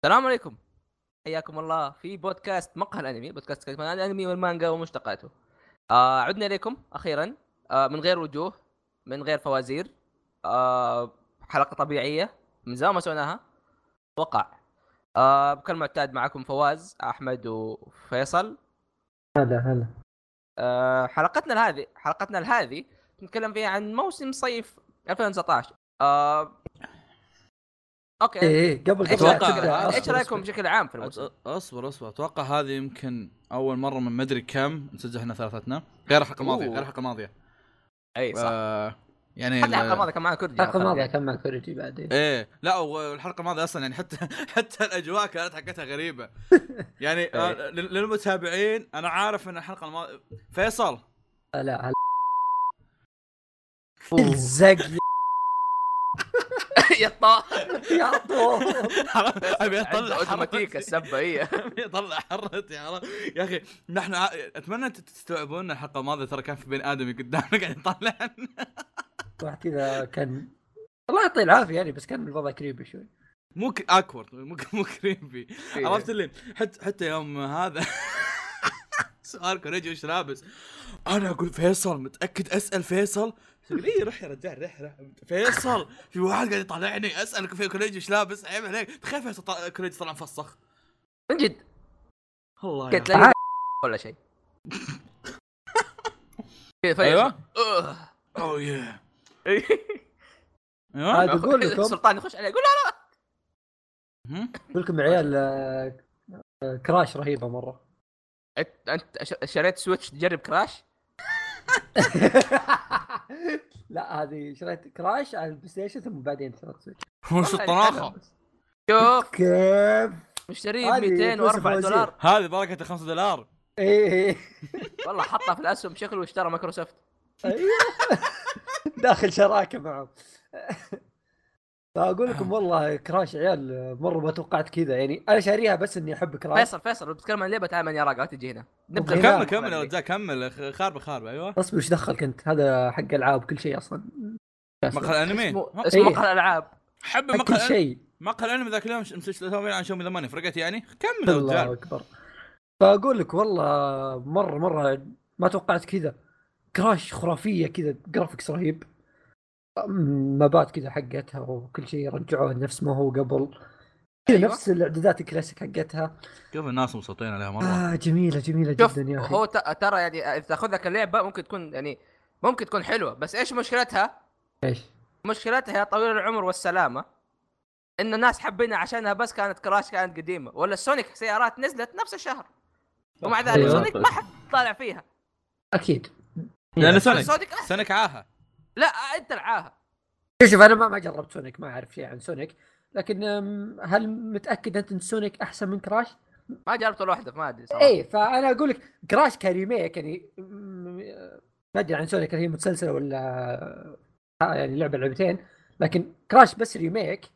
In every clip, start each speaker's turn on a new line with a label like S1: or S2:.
S1: السلام عليكم حياكم الله في بودكاست مقهى الانمي بودكاست كلمة عن الانمي والمانجا ومشتقاته آه عدنا اليكم اخيرا آه من غير وجوه من غير فوازير آه حلقه طبيعيه من زمان ما سويناها وقع آه كالمعتاد معكم فواز احمد وفيصل
S2: هلا هلا
S1: آه حلقتنا هذه حلقتنا هذه نتكلم فيها عن موسم صيف 2019 آه اوكي
S2: ايه ايه قبل قبل
S3: أتوقع-
S2: لا تبدأ،
S1: اتوقع
S2: أصبر،
S1: ايش
S2: أصبر.
S1: رايكم بشكل عام في الموسم؟
S3: أص- اصبر اصبر اتوقع هذه يمكن اول مره من مدري كم نسجل احنا ثلاثتنا غير الحلقه الماضيه
S1: أوه.
S3: غير الحلقه الماضيه
S1: اي صح
S3: آه، يعني
S1: حتى
S3: ال-
S1: الحلقه الماضيه كان معنا كرجي
S2: الحلقه الماضيه كان مع كوريجي بعدين
S3: ايه لا والحلقه الماضيه اصلا يعني حتى حتى الاجواء كانت حقتها غريبه يعني
S1: إيه.
S3: آه، لل- للمتابعين انا عارف ان الحلقه الماضيه فيصل
S2: لا هلا
S1: أوه.
S2: الزق
S1: يا طه
S2: يا طول
S3: ابي اطلع
S1: اوتوماتيك
S3: حرتي.
S1: السبه هي
S3: ابي اطلع حرتي عرفت؟ يا اخي نحن ع- اتمنى انت تستوعبون إن الحلقه الماضيه ترى كان في بني ادمي قدامنا قاعد يطلع
S2: واحد كذا كان الله يعطيه العافيه يعني بس كان الوضع كريبي شوي
S3: مو ك- اكورد مو ك- مو كريمبي عرفت اللي حتى حتى يوم هذا سؤال كوريجي وش لابس انا اقول فيصل متاكد اسال فيصل يقول اي روح يا رجال روح روح فيصل في واحد قاعد يطالعني اسال في كوريجي وش لابس عيب عليك تخيل فيصل طلع- كوريجي طلع مفسخ
S1: من جد
S3: والله يا
S1: قلت
S3: أخي.
S1: لا
S2: تعال.
S1: ولا شيء كذا فجأة.
S3: ايوه
S1: أوه.
S3: اوه يا
S2: عاد
S3: ايوه
S2: اقول لكم
S1: سلطان يخش علي يقول لا
S3: مهم.
S2: اقول لكم عيال آه، آه، كراش رهيبه مره
S1: لا أنت- انت ش- شريت سويتش تجرب كراش
S2: لا هذه شريت كراش على البلاي ستيشن ثم بعدين شريت سويتش
S3: وش الطناخه
S1: شوف
S2: كيف
S1: مشتريه ب
S2: هذه
S1: 204
S2: فلوس
S1: دولار
S3: هذه بركه 5 دولار
S2: ايه إيه.
S1: والله حطها في الاسهم شكله اشترى مايكروسوفت
S2: ايوه داخل شراكه معهم فاقول لكم والله كراش عيال مره ما توقعت كذا يعني انا شاريها بس اني احب كراش
S1: فيصل فيصل بتتكلم عن لعبه تعال من يا راجل لا تجي هنا
S2: إيه،
S3: كمل
S2: لا.
S3: كمل يا رجال كمل خ- خاربه خاربه ايوه
S2: اصبر ايش دخلك انت هذا حق العاب كل شيء اصلا
S3: مقهى الانمي
S1: اسمه
S3: ها؟
S1: اسمه
S2: إيه.
S1: مقهى الالعاب
S3: حب
S2: كل
S3: مقهى
S2: شيء
S3: مقهى الانمي ذاك اليوم مسلسل عن شومي ذا ماني فرقت يعني كمل يا رجال
S2: الله اكبر فاقول لك والله مره مره ما توقعت كذا كراش خرافيه كذا جرافيكس رهيب مبات كذا حقتها وكل شيء رجعوه نفس ما هو قبل كذا
S1: أيوة.
S2: أيوة. نفس الاعدادات الكلاسيك حقتها
S3: كيف الناس مبسوطين عليها مره
S2: آه جميله جميله
S1: شوف
S2: جدا يا اخي
S1: هو ت- ترى يعني اذا تاخذها كلعبه ممكن تكون يعني ممكن تكون حلوه بس ايش مشكلتها؟
S2: ايش
S1: مشكلتها يا طويل العمر والسلامه ان الناس حبينها عشانها بس كانت كراش كانت قديمه ولا سونيك سيارات نزلت نفس الشهر ومع ذلك
S2: أيوة.
S1: سونيك ما حد طالع فيها
S2: اكيد إيه.
S3: لان سونيك
S1: سونيك أح-
S3: سونيك عاهه
S1: لا انت العاهه
S2: شوف شوف انا ما ما جربت سونيك ما اعرف شيء عن سونيك لكن أم، هل متاكد انت ان سونيك احسن من كراش؟
S1: ما جربت ولا واحده فما ادري صراحه
S2: ايه فانا اقول لك كراش كريميك يعني م- ما ادري عن سونيك هل هي متسلسله ولا آه، يعني لعبه لعبتين لكن كراش بس ريميك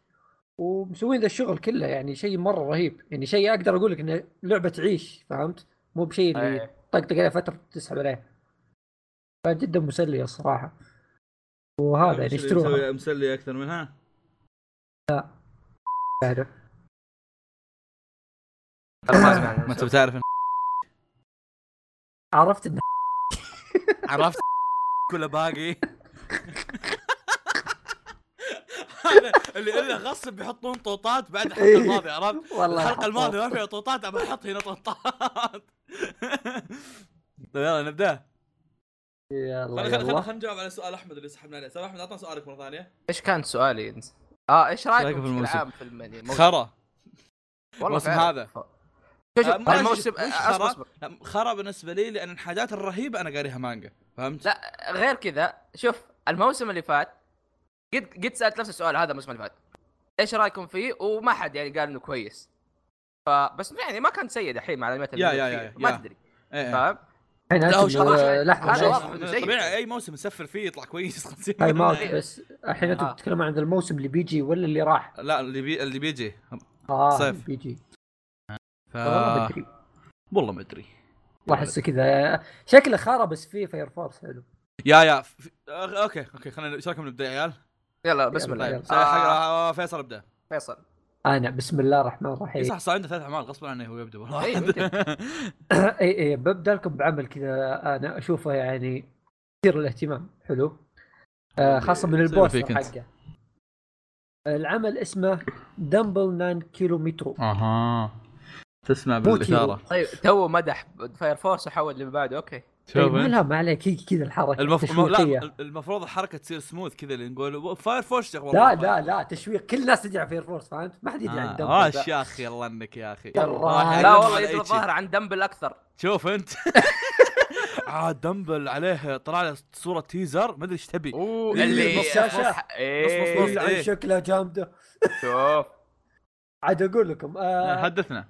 S2: ومسوين ذا الشغل كله يعني شيء مره رهيب يعني شيء اقدر اقول لك انه لعبه تعيش فهمت؟ مو بشيء اللي
S1: إيه.
S2: طقطق عليه فتره تسحب عليه فجدا مسليه الصراحه
S3: أيوة،
S2: وهذا يعني اشتروها
S3: مسلي اكثر منها
S2: بعده.
S3: ما انت بتعرف إن-
S2: عرفت انه
S3: عرفت كله باقي هذا اللي الا غصب بيحطون طوطات بعد الحلقه
S2: إيه.
S3: الماضيه عرفت؟
S2: والله
S3: الحلقه الماضيه ما فيها طوطات ابى احط هنا طوطات طيب يلا نبدا
S2: يلا
S3: خلينا خلينا
S2: يلا
S3: خلينا نجاوب على سؤال احمد اللي سحبنا عليه، سؤال احمد اعطنا سؤالك مره ثانيه
S1: ايش كان سؤالي انت؟ اه ايش رايكم
S3: رأيكم في
S1: بشكل
S3: الموسم؟
S1: عام في الم- يعني الموسم؟
S3: خرا الموسم
S1: فعلاً.
S3: هذا.
S1: شوف شوف،
S3: آه، ما-
S1: الموسم
S3: مش
S1: اصبر
S3: خرا.
S1: اصبر
S3: لا، خرا بالنسبه لي لان الحاجات الرهيبه انا قاريها مانجا فهمت؟
S1: لا غير كذا شوف الموسم اللي فات قد قد سالت نفس السؤال هذا الموسم اللي فات ايش رايكم فيه وما حد يعني قال انه كويس فبس يعني ما كان سيء دحين مع الانميات اللي
S3: يا-
S1: موجود
S3: يا- يا-
S1: فيه. ما
S3: يا.
S1: تدري
S3: إيه.
S1: فاهم
S2: الحين
S3: لا، هو
S2: انتم
S3: شرح.
S2: آه،
S1: هذا
S2: لحظه
S1: واضح.
S2: بس.
S1: إنه زي-
S3: طبيعي اي موسم نسفر فيه يطلع كويس خلصين
S2: تايم اوت بس الحين انتم
S1: آه.
S2: تتكلمون عن الموسم اللي بيجي ولا اللي راح؟
S3: لا اللي بي... اللي بيجي
S2: اه
S3: صيف. آه.
S2: بيجي
S3: ف...
S2: والله ما ادري
S3: والله ما ادري
S2: والله احسه كذا شكله خرا بس فيه فاير فورس حلو
S3: يا يا ف... آه، اوكي اوكي خلينا ايش رايكم نبدا يا عيال؟
S1: يلا بسم
S2: يلا،
S1: الله
S2: يلا.
S3: طيب سأل حق- آه، فيصل ابدا
S1: فيصل
S2: انا بسم الله الرحمن
S3: إيه
S2: الرحيم
S3: صح صار عنده ثلاث اعمال غصبا عنه هو يبدا والله
S1: إيه، ممكن.
S2: اي اي ببدا لكم بعمل كذا انا اشوفه يعني كثير الاهتمام حلو آه خاصه من
S3: سوي
S2: البوستر
S3: فيك أنت.
S2: حقه العمل اسمه دمبل نان كيلو مترو
S3: اها تسمع
S2: مو
S3: بالاثاره
S1: طيب تو مدح فاير فورس وحول اللي بعده اوكي
S2: إيه،
S3: شوف
S2: ما لا ما عليك هي كذا الحركه
S3: المف... م-
S2: تشويقية.
S3: لا المفروض الحركه تصير سموث كذا اللي نقول فاير فورس يا آه،
S2: لا لا لا تشويق كل الناس تدري عن فاير فورس فهمت؟ ما حد يدري عن دمبل
S3: اه
S2: ذا.
S3: يا اخي الله انك يا آه، اخي
S2: يلا.
S3: واحد
S1: لا
S2: أنا
S1: والله
S3: على
S1: يدري
S3: إيتشي.
S1: الظاهر عن دمبل اكثر
S3: شوف انت عاد دمبل عليه طلع له صوره تيزر ما ادري ايش تبي
S1: اوه
S3: إيه،
S1: اللي
S3: نص
S2: شاشة.
S1: إيه،
S3: نص- نص-
S2: إيه،
S3: نص.
S2: عن
S3: إيه.
S2: شكله جامده
S1: شوف
S2: عاد اقول لكم آه
S3: حدثنا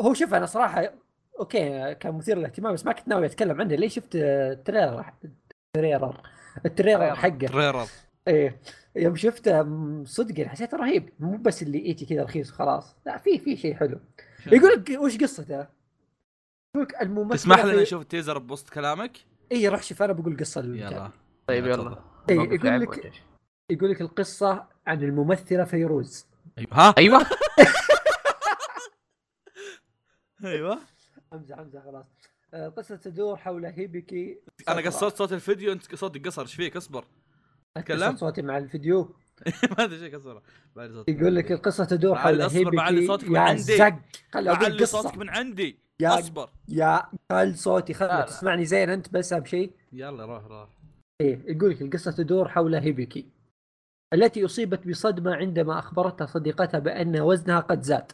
S2: هو شوف انا صراحه اوكي كان مثير للاهتمام بس ما كنت ناوي اتكلم عنه ليه شفت آه، تريلر تريلر التريلر حقه
S3: تريرر
S2: ايه يوم شفته م- صدق يعني حسيته رهيب مو بس اللي ايتي كذا رخيص وخلاص لا في في شيء حلو يقول لك وش قصته؟ يقول لك الممثل
S3: تسمح لنا نشوف التيزر بوسط كلامك
S2: اي روح شوف انا بقول قصه
S3: يلا
S1: طيب يلا
S3: تفضل.
S2: إيه
S1: موقف
S2: يقول
S1: لعب
S2: لك
S1: وجيش.
S2: يقول لك القصه عن الممثله فيروز
S3: أيوة. ها
S1: ايوه
S3: ايوه
S2: امزح امزح خلاص آه، قصة تدور حول هيبكي
S3: انا قصرت صوت الفيديو انت صوتك قصر ايش فيك اصبر
S2: اتكلم
S3: اتكلم.
S2: صوتي مع الفيديو
S3: ما ادري ايش قصر بعد صوتك.
S2: يقول لك القصه تدور
S3: معلي
S2: حول
S3: أصبر، معلي
S2: هيبكي
S3: صوتك من
S2: يا
S3: عندي.
S2: زق خلي اقول
S3: علي صوتك
S2: قصه
S3: من عندي
S2: يا-
S3: اصبر
S2: يا خل صوتي
S1: لا،
S2: خل
S1: لا.
S2: تسمعني زين انت بس اهم شيء
S3: يلا روح روح
S2: ايه يقول لك القصه تدور حول هيبيكي التي اصيبت بصدمه عندما اخبرتها صديقتها بان وزنها قد زاد.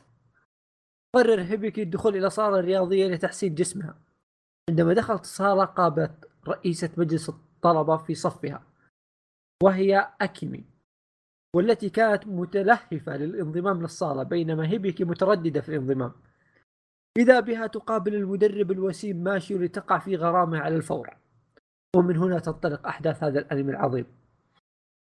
S2: قرر هيبيكي الدخول الى صاله رياضيه لتحسين جسمها. عندما دخلت الصاله قابلت رئيسه مجلس الطلبه في صفها وهي اكيمي والتي كانت متلهفه للانضمام للصاله بينما هيبيكي متردده في الانضمام. اذا بها تقابل المدرب الوسيم ماشيو لتقع في غرامه على الفور. ومن هنا تنطلق احداث هذا الانمي العظيم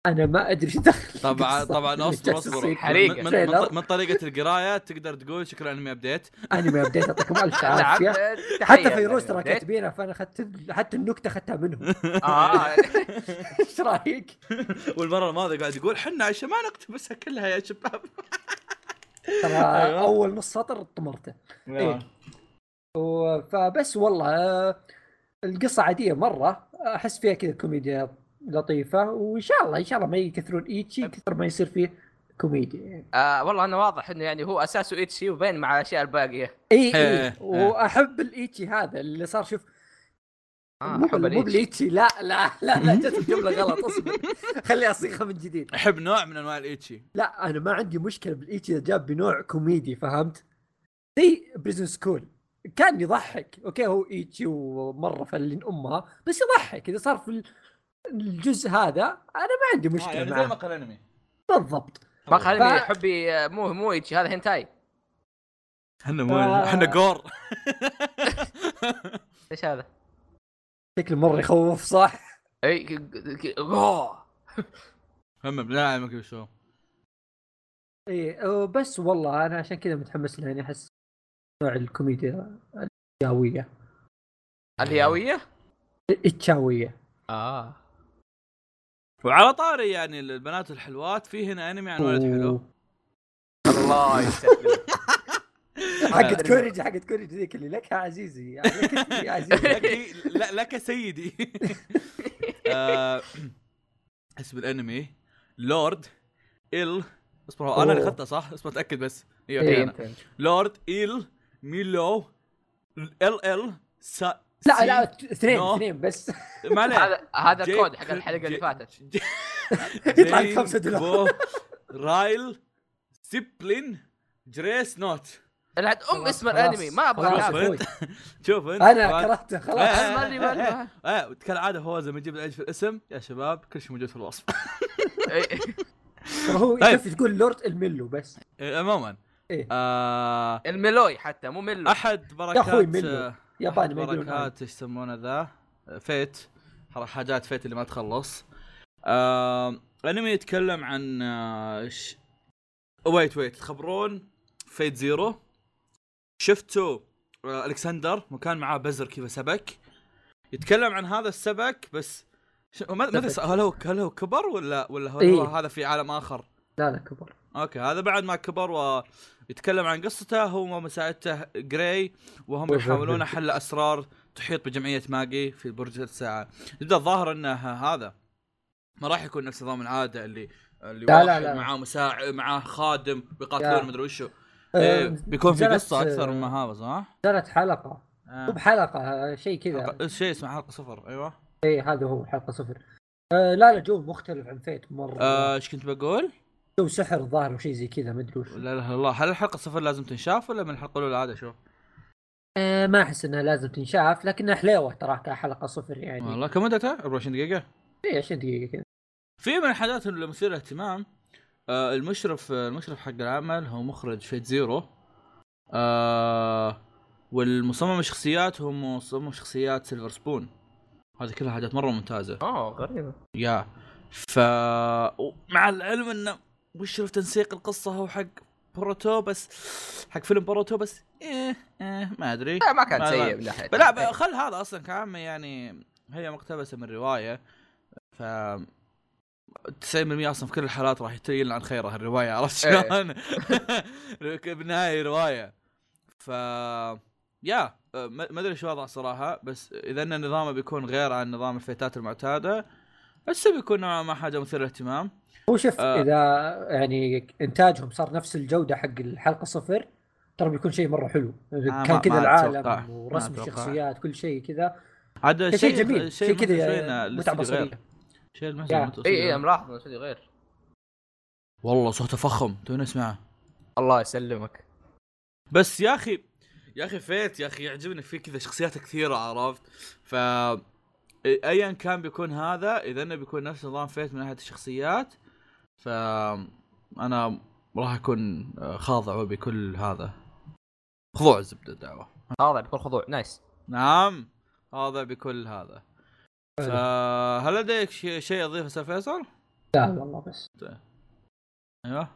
S2: انا ما ادري ايش دخل
S3: طبعا
S2: القصة
S3: طبعا
S2: اللي
S3: اصبر
S2: جالس
S3: اصبر
S2: يصير.
S1: حريقة.
S3: من- من,
S2: تريلر.
S3: من, من طريقه القرايه تقدر تقول شكرا انمي ابديت
S2: انمي بديت اعطيكم الف
S1: نعم،
S2: عافيه
S1: تحية.
S2: حتى فيروز ترى
S1: بديت.
S2: كاتبينها فانا اخذت حتى النكته اخذتها منهم
S1: اه
S2: ايش رايك؟
S3: والمره الماضيه قاعد يقول حنا عشان ما نقتبسها كلها يا شباب
S2: ترى
S3: أيوة.
S2: اول نص سطر طمرته إيه. و- فبس والله آه، القصه عاديه مره احس فيها كذا كوميديا لطيفه وان شاء الله ان شاء الله ما يكثرون ايتشي كثر ما يصير فيه كوميديا يعني
S1: آه، والله انا واضح انه يعني هو اساسه ايتشي وبين مع الاشياء الباقيه
S2: اي اي
S3: إيه، إيه.
S2: واحب الايتشي هذا اللي صار شوف
S1: اه
S2: مو
S1: حب
S2: بال- مو
S1: الايتشي
S2: بليتشي لا لا لا لا جت الجمله غلط اصبر خليها اصيغها من جديد
S3: احب نوع من انواع الايتشي
S2: لا انا ما عندي مشكله بالايتشي اذا جاب بنوع كوميدي فهمت؟ زي بريزن سكول كان يضحك اوكي هو ايتشي ومره فلين امها بس يضحك اذا صار في ال- الجزء هذا انا ما عندي مشكله
S3: يعني زي ما
S2: معه
S3: قال انمي
S2: بالضبط
S1: ما خليني
S2: ف-
S1: حبي آه، مو مو ايتشي هذا هنتاي
S3: احنا
S2: آه.
S3: مو احنا جور
S1: ايش هذا؟
S2: شكله مره يخوف صح؟
S1: اي ك- ك- غوه.
S3: هم لا ما شو
S2: اي أه، بس والله انا عشان كذا متحمس لاني احس نوع الكوميديا الجاويه
S1: الياويه؟
S2: التشاويه
S1: اه
S3: وعلى طاري يعني البنات الحلوات في هنا انمي عن ولد حلو
S1: الله يسلمك
S2: حقت
S3: آه.
S2: كوريجي حقت كوريجي ذيك اللي لك يا عزيزي يعني لك يا عزيزي
S3: لك لا لك سيدي آه، اسم الانمي لورد ال اصبر هو انا اللي
S2: أوه.
S3: اخذته صح؟ اصبر اتاكد بس ايوه
S2: إيه.
S1: إيه،
S3: أنا.
S1: أنت- أنت.
S3: لورد ال ميلو ال ال سا
S2: لا لا اثنين
S3: نو.
S2: اثنين بس
S3: ما عليه
S1: هذا هذا
S3: جيك-
S1: كود حق الحلقه اللي
S3: جي-
S1: فاتت
S3: جي-
S2: يطلع لك
S3: جين
S2: خمسة دولار.
S3: بو رايل سيبلين جريس نوت
S1: لعد ام اسم
S2: خلاص،
S1: الانمي ما ابغى
S2: خلاص،
S1: أعرف.
S3: تعرف.
S2: أخوي.
S3: شوف انت
S2: انا كرهته خلاص
S1: ما أدري، ما أدري.
S3: ايه كالعاده هو لما يجيب العيد في الاسم يا شباب كل شيء موجود في الوصف
S1: إيه.
S2: ترى هو
S3: طيب.
S2: شوف تقول لورد الملو بس
S3: إيه، عموما
S2: إيه.
S3: آه،
S1: الميلوي حتى مو ميلو
S3: احد بركات
S2: يا أخوي منه.
S3: أحد
S2: ياباني ما يقولون هذا.
S3: بركات ايش يسمونه ذا فيت حاجات فيت اللي ما تخلص آه، انمي يتكلم عن آه، ش... ويت ويت تخبرون فيت زيرو شفتوا آه، الكسندر وكان معاه بزر كذا سبك يتكلم عن هذا السبك بس ش... ما ما ادري
S2: سبك.
S3: هل هو هل هو كبر ولا ولا هو
S2: إيه.
S3: هذا في عالم اخر
S2: لا لا كبر
S3: اوكي هذا بعد ما كبر ويتكلم عن قصته هو ومساعدته جراي وهم يحاولون حل اسرار تحيط بجمعيه ماجي في برج الساعه يبدا الظاهر انه هذا ما راح يكون نفس نظام العاده اللي اللي
S2: لا،
S3: واحد
S2: لا، لا.
S3: معاه مساعد معاه خادم
S2: لا.
S3: بيقاتلون مدري وشو إيه، بيكون في قصه اكثر مما هذا صح؟
S2: آه، نزلت حلقه مو بحلقه شيء كذا
S3: حلقة- شيء اسمه حلقه صفر ايوه
S2: اي هذا هو حلقه صفر آه لا لا جو مختلف عن فيت مره
S3: آه، ايش كنت بقول؟
S2: جو سحر ظاهر وشيء زي كذا ما ادري وش
S3: لا اله الا الله هل الحلقه صفر لازم تنشاف ولا من الحلقه الاولى عاده شوف؟
S2: آه ما احس انها لازم تنشاف لكنها حليوه تراها كحلقه صفر يعني
S3: والله كم مدتها؟ 24 دقيقه
S2: إيه، 20 دقيقه كذا
S3: في من الحاجات المثيرة للاهتمام آه، المشرف آه، المشرف حق العمل هو مخرج فيت زيرو آه، والمصمم الشخصيات هو مصمم شخصيات سيلفر سبون هذه كلها حاجات مره ممتازه
S1: اوه غريبه
S3: يا ف مع العلم انه مشرف تنسيق القصه هو حق بوروتو بس حق فيلم بوروتو بس ايه ايه ما ادري
S1: لا ما كان
S3: ما-
S1: سيء
S3: ما-
S1: من ناحيه
S3: لا ب- خل هذا اصلا كعامة يعني هي مقتبسه من روايه ف 90% اصلا في كل الحالات راح يت- يلعن خيرها الروايه عرفت
S1: إيه.
S3: شلون؟ بالنهايه روايه ف يا ما ما ادري شو وضع صراحه بس اذا ان نظامه بيكون غير عن نظام الفيتات المعتاده بس بيكون نوعا ما حاجه مثيره للاهتمام
S2: هو شوف
S3: آه.
S2: آه. اذا يعني انتاجهم صار نفس الجوده حق الحلقه صفر ترى بيكون شيء مره حلو
S3: ما-
S2: كان كذا
S3: ما أتوقع.
S2: العالم
S3: ما
S2: ورسم
S3: أتوقع.
S2: الشخصيات كل شيء كذا
S3: عاد
S2: كان شيء جميل شيء
S3: مثل شوينا
S2: كذا يعني متعه
S3: الاستوديو غير.
S2: بصريه
S3: شيء مثل
S2: يا.
S3: الاستوديو
S1: اي اي
S3: غير.
S1: ملاحظ إنه شيء غير
S3: والله صوته فخم توني اسمعه
S1: الله يسلمك
S3: بس يا اخي يا اخي فيت يا اخي يعجبني فيه كذا شخصيات كثيره عرفت ف ايا كان بيكون هذا اذا انه بيكون نفس نظام فيت من ناحيه الشخصيات ف انا راح اكون آه، خاضع بكل هذا خضوع الزبده الدعوه
S1: خاضع بكل خضوع نايس
S3: نعم خاضع بكل هذا فهل لديك شي- شيء اضيفه استاذ فيصل؟
S2: لا والله بس
S3: ايوه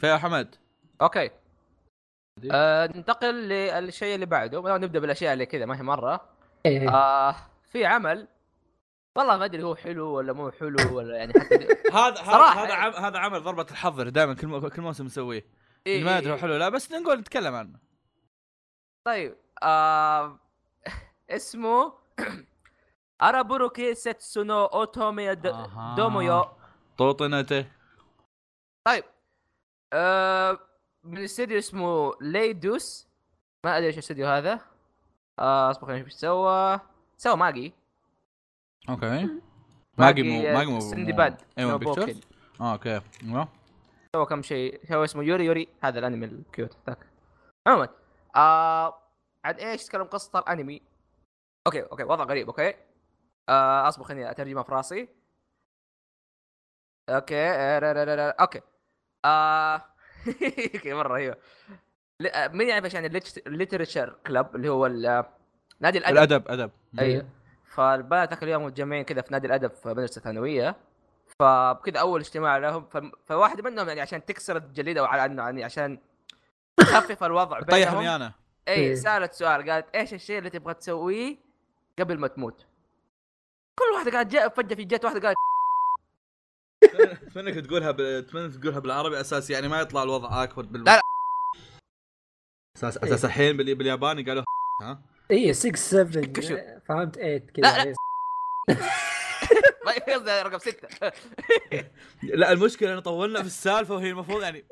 S3: فيا حمد
S1: اوكي آه ننتقل للشيء اللي بعده نبدا بالاشياء اللي كذا ما هي مره
S2: إيه، إيه.
S1: آه في عمل والله ما ادري هو حلو ولا مو حلو ولا يعني حتى
S3: هذا هذا
S1: صراحة.
S3: هذا عم- هذا عمل ضربه الحظ دائما كل مو- كل موسم نسويه إيه ما ادري هو حلو لا بس نقول نتكلم عنه
S1: طيب آه اسمه أرابوروكي سيتسونو اوتومي د-
S3: أها.
S1: دومويو
S3: طوطنته
S1: طيب آه من استديو اسمه ليدوس ما ادري ايش الاستديو هذا آه اصبر خلينا نشوف ايش سوى سوى ماجي
S3: اوكي ماجي مو
S1: آه،
S3: ماجي مو
S1: سندباد
S3: ايوه
S1: نوبوكن.
S3: بيكتشرز اه اوكي ايوه
S1: سوى كم شيء سوى اسمه يوري يوري هذا الانمي الكيوت ذاك عموما آه عن ايش تكلم قصه الانمي اوكي اوكي وضع غريب اوكي آه اصبر خليني اترجمها في راسي اوكي آه، را- را- را- را- اوكي آه اوكي مره رهيبه ل- آه، مين يعرف ايش يعني الليترشر كلاب اللي هو ال- آه، نادي الادب
S3: الادب ادب
S2: إيه،
S1: ايوه فالبنات ذاك اليوم متجمعين كذا في نادي الادب في مدرسه ثانويه فكذا اول اجتماع لهم فالم- فواحد منهم يعني عشان تكسر الجليد او على انه يعني عشان تخفف الوضع
S3: طيحني
S1: بينهم
S3: انا
S1: اي
S2: إيه.
S1: سالت سؤال قالت ايش الشيء اللي تبغى تسويه قبل ما تموت كل واحده قالت جاء فجاه في جت واحده قالت
S3: اتمنى انك تقولها ب... اتمنى إنك تقولها بالعربي اساس يعني ما يطلع الوضع اكورد بال
S1: لا، إيه. لا.
S3: اساس اساس الحين بال... بالياباني قالوا ها
S2: اي 6
S1: كشو.
S2: 7 إيه، فهمت 8 كذا
S1: لا،
S2: إيه.
S1: ما يقصد رقم سته
S3: لا المشكله انا طولنا في السالفه وهي المفروض يعني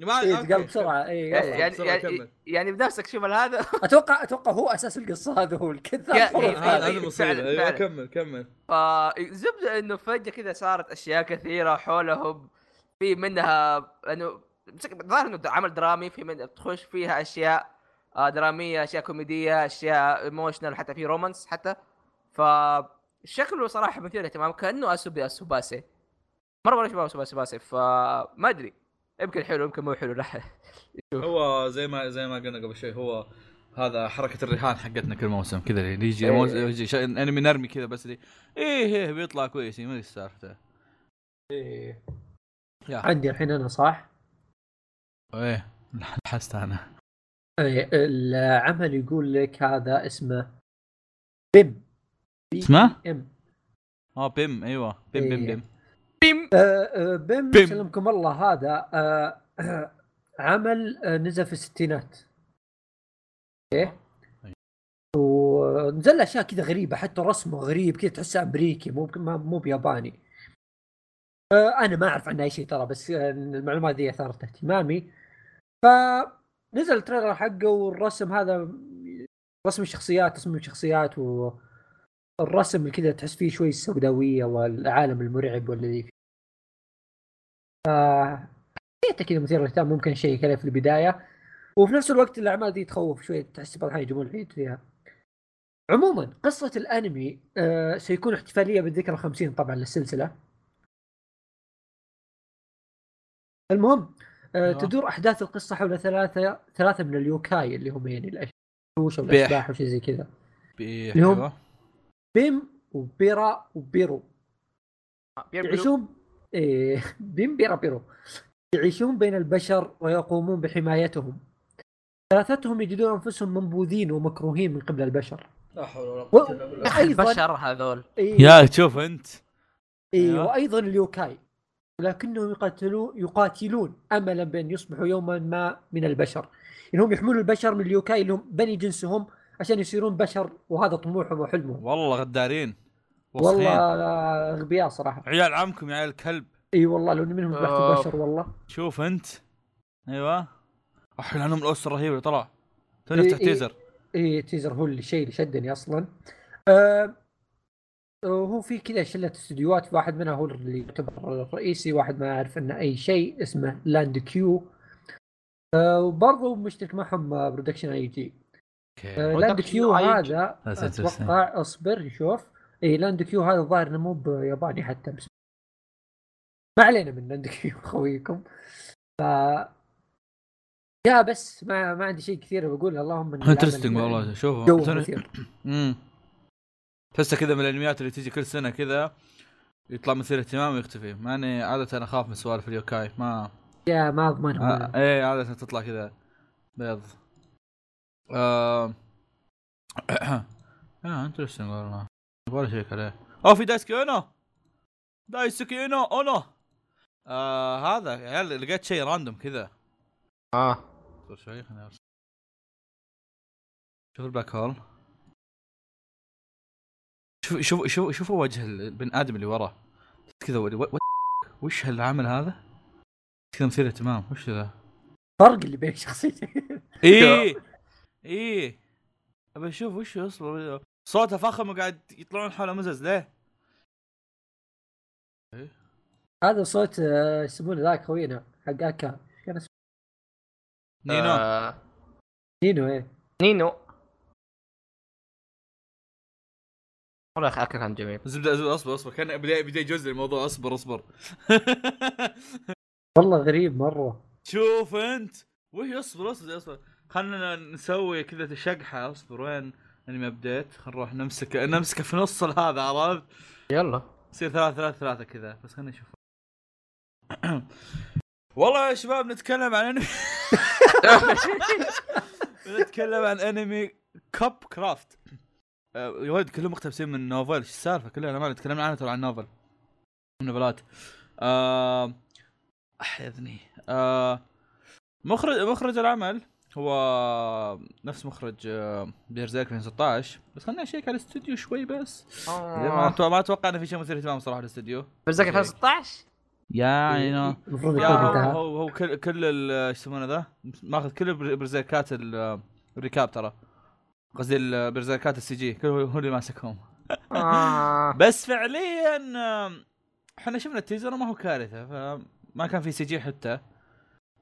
S3: ما
S2: إيه،
S3: أوكي.
S2: تقال بسرعه اي
S1: يعني
S2: يلا
S1: يعني,
S3: بسرعة كمل.
S1: يعني, يعني بنفسك شوف هذا
S2: اتوقع اتوقع هو اساس القصه هذا هو الكذاب
S1: يا-
S2: هو
S1: إيه،
S2: هذا.
S3: هذا هذا
S1: فعلاً،
S3: المصيبه
S1: فعلاً.
S3: ايوه كمل كمل
S1: فالزبده انه فجاه كذا صارت اشياء كثيره حولهم في منها انه مسك- ظاهر انه عمل درامي في من تخش فيها اشياء آه، دراميه اشياء كوميديه اشياء ايموشنال حتى في رومانس حتى ف شكله صراحه مثير للاهتمام كانه اسوبي اسوباسي مره مره شباب اسوبي اسوباسي فما ادري يمكن حلو يمكن مو حلو راح
S3: هو زي ما زي ما قلنا قبل شوي هو هذا حركه الرهان حقتنا كل موسم كذا اللي يجي
S1: إيه.
S3: موز... يجي شيء- انمي نرمي كذا بس اللي ايه ايه بيطلع كويس إيه، ما ادري إيش سالفته
S2: إيه.
S3: يا.
S2: عندي الحين انا صح
S3: ايه لاحظت انا
S2: إيه، العمل يقول لك هذا اسمه بيم
S3: اسمه؟
S2: ام
S3: اه بيم ايوه بيم بيم
S2: إيه.
S3: بيم
S1: بيم
S2: آه، آه، بيم
S3: بيم.
S2: سلمكم الله هذا آه، آه، عمل آه، نزل في الستينات اوكي أيوه.
S3: أي.
S2: ونزل له اشياء كذا غريبه حتى رسمه غريب كذا تحسه امريكي مو ما- مو بياباني آه، انا ما اعرف عنه اي شيء ترى بس آه، المعلومات دي اثارت اهتمامي فنزل التريلر حقه والرسم هذا رسم الشخصيات تصميم الشخصيات و الرسم اللي كذا تحس فيه شوي السوداويه والعالم المرعب والذي فيه. آه حسيته كذا مثير للاهتمام ممكن شيء كذا في البدايه وفي نفس الوقت الاعمال دي تخوف شوي تحس بعض الأحيان يجيبون العيد فيها. عموما قصه الانمي آه سيكون احتفاليه بالذكرى الخمسين طبعا للسلسله. المهم آه
S3: أيوة.
S2: تدور احداث القصه حول ثلاثه ثلاثه من اليوكاي اللي هم يعني الاشوش
S3: بيح.
S2: والاشباح وشيء زي كذا.
S3: بي-
S2: اليوم.
S3: أيوة.
S2: بيم وبيرا وبيرو
S1: آه، يعيشون
S2: يعيشون إيه بيم بيرا بيرو يعيشون بين البشر ويقومون بحمايتهم ثلاثتهم يجدون انفسهم منبوذين ومكروهين من قبل البشر
S4: لا حول ولا
S2: و-
S4: قوه الا بالله
S2: أيضاً-
S1: البشر هذول
S2: إيه
S3: يا شوف انت
S2: إيه
S3: أيوة.
S2: وايضا اليوكاي ولكنهم يقاتلون يقاتلون املا بان يصبحوا يوما ما من البشر انهم يحملوا البشر من اليوكاي اللي هم بني جنسهم عشان يصيرون بشر وهذا طموحهم وحلمهم
S3: والله غدارين وسخين.
S2: والله آه، اغبياء صراحه
S3: عيال عمكم يا عيال الكلب
S2: اي والله لو إن منهم ذبحت
S1: آه.
S2: البشر والله
S3: شوف انت ايوه احنا عندهم الأوس الرهيب اللي طلع توني
S2: إي-
S3: افتح
S2: إي.
S3: تيزر
S2: ايه تيزر هو اللي- الشيء اللي شدني اصلا آه هو في كذا شله استديوهات في واحد منها هو اللي يعتبر الرئيسي واحد ما اعرف عنه اي شيء اسمه لاند كيو آه وبرضه مشترك معهم آه، برودكشن اي جي آه
S1: Production
S2: لاند كيو
S1: IG.
S2: هذا
S3: لا تنسى.
S2: اتوقع اصبر نشوف اي إيه، لاند كيو هذا الظاهر انه مو بياباني حتى بس ما علينا من لاند كيو خويكم ف يا بس ما ما عندي شيء كثير بقول اللهم إن العمل
S3: انترستنج والله
S2: جو
S3: شوفوا توني-
S2: مثير
S3: امم تحسه كذا من الانميات اللي تجي كل سنه كذا يطلع مثير اهتمام ويختفي مع اني عاده انا اخاف من سوالف اليوكاي ما
S2: يا ما اضمنهم
S3: آه،
S2: أنا.
S3: ايه عاده تطلع كذا بيض آه... اه انترستنج والله يبغى اشيك عليه اوه في دايسكي اونو دايسكي اونو اونو آه هذا يا عيال لقيت شيء راندوم كذا
S1: اه
S3: اصبر شوي خليني ارسل شوف البلاك هول شوف شوف شوف شوفوا وجه البن ادم اللي وراه كذا و- و- وش هالعمل هذا؟ كذا مثير اهتمام وش ذا؟
S2: فرق اللي بين شخصيتين
S3: ايه ايه ابى اشوف وش هو، اصبر صوته فخم وقاعد يطلعون حوله مزز ليه؟
S2: هذا صوت آه، يسمونه ذاك خوينا حق اكا كان اسمه
S3: نينو
S1: آه،
S2: نينو ايه
S1: نينو والله يا اخي اكل كان جميل
S3: زبده زبده اصبر اصبر كان بدايه بدايه جزء الموضوع اصبر اصبر
S2: والله غريب مره
S3: شوف انت وش اصبر اصبر اصبر خلنا نسوي كذا شقحه اصبر وين انمي ابديت خلينا نروح نمسك نمسكه في نص هذا عرفت
S1: يلا
S3: يصير ثلاثة ثلاثة ثلاثة كذا بس خلينا نشوف والله يا شباب نتكلم عن انمي نتكلم عن انمي كاب كرافت آه، يا ولد كلهم مقتبسين من نوفل ايش السالفه كلنا ما تكلمنا عنها ترى عن نوفل نوفلات آه، احيذني آه، مخرج مخرج العمل هو نفس مخرج آه، بيرزيرك 2016 بس خلينا نشيك على الاستوديو شوي بس
S1: آه.
S3: زي ما أتو- ما اتوقع انه في شيء مثير اهتمام يعني، صراحه الاستوديو
S1: برزك 2016
S3: يا اي نو
S2: المفروض
S3: يا
S2: يكون
S3: هو
S2: انتهى
S3: هو- هو كل كل ال- ايش يسمونه ذا ماخذ كل البر- برزيركات ال- الركاب ترى قصدي ال- برزيركات السي جي كل هو هو اللي ماسكهم
S1: آه.
S3: بس فعليا آم، احنا شفنا التيزر وما هو كارثه فما كان في سي جي حتى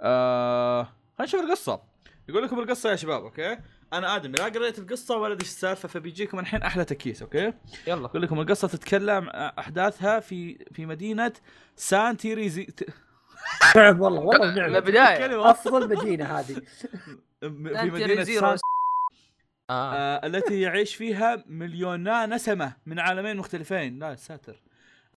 S3: آه خلينا نشوف القصه يقول لكم القصه يا شباب اوكي انا ادم لا قريت القصه ولا ادري ايش السالفه فبيجيكم الحين احلى تكيس اوكي
S1: يلا
S3: اقول لكم القصه تتكلم آه، احداثها في في مدينه سانتي ريزي ت-
S2: نعم والله والله
S1: من
S2: نعم
S1: البدايه
S3: كلمة
S2: افضل مدينه هذه
S3: م- في
S1: أنت
S3: مدينه
S1: ريزيرو.
S3: سان...
S1: آه.
S3: آه التي يعيش فيها مليونا نسمه من عالمين مختلفين لا ساتر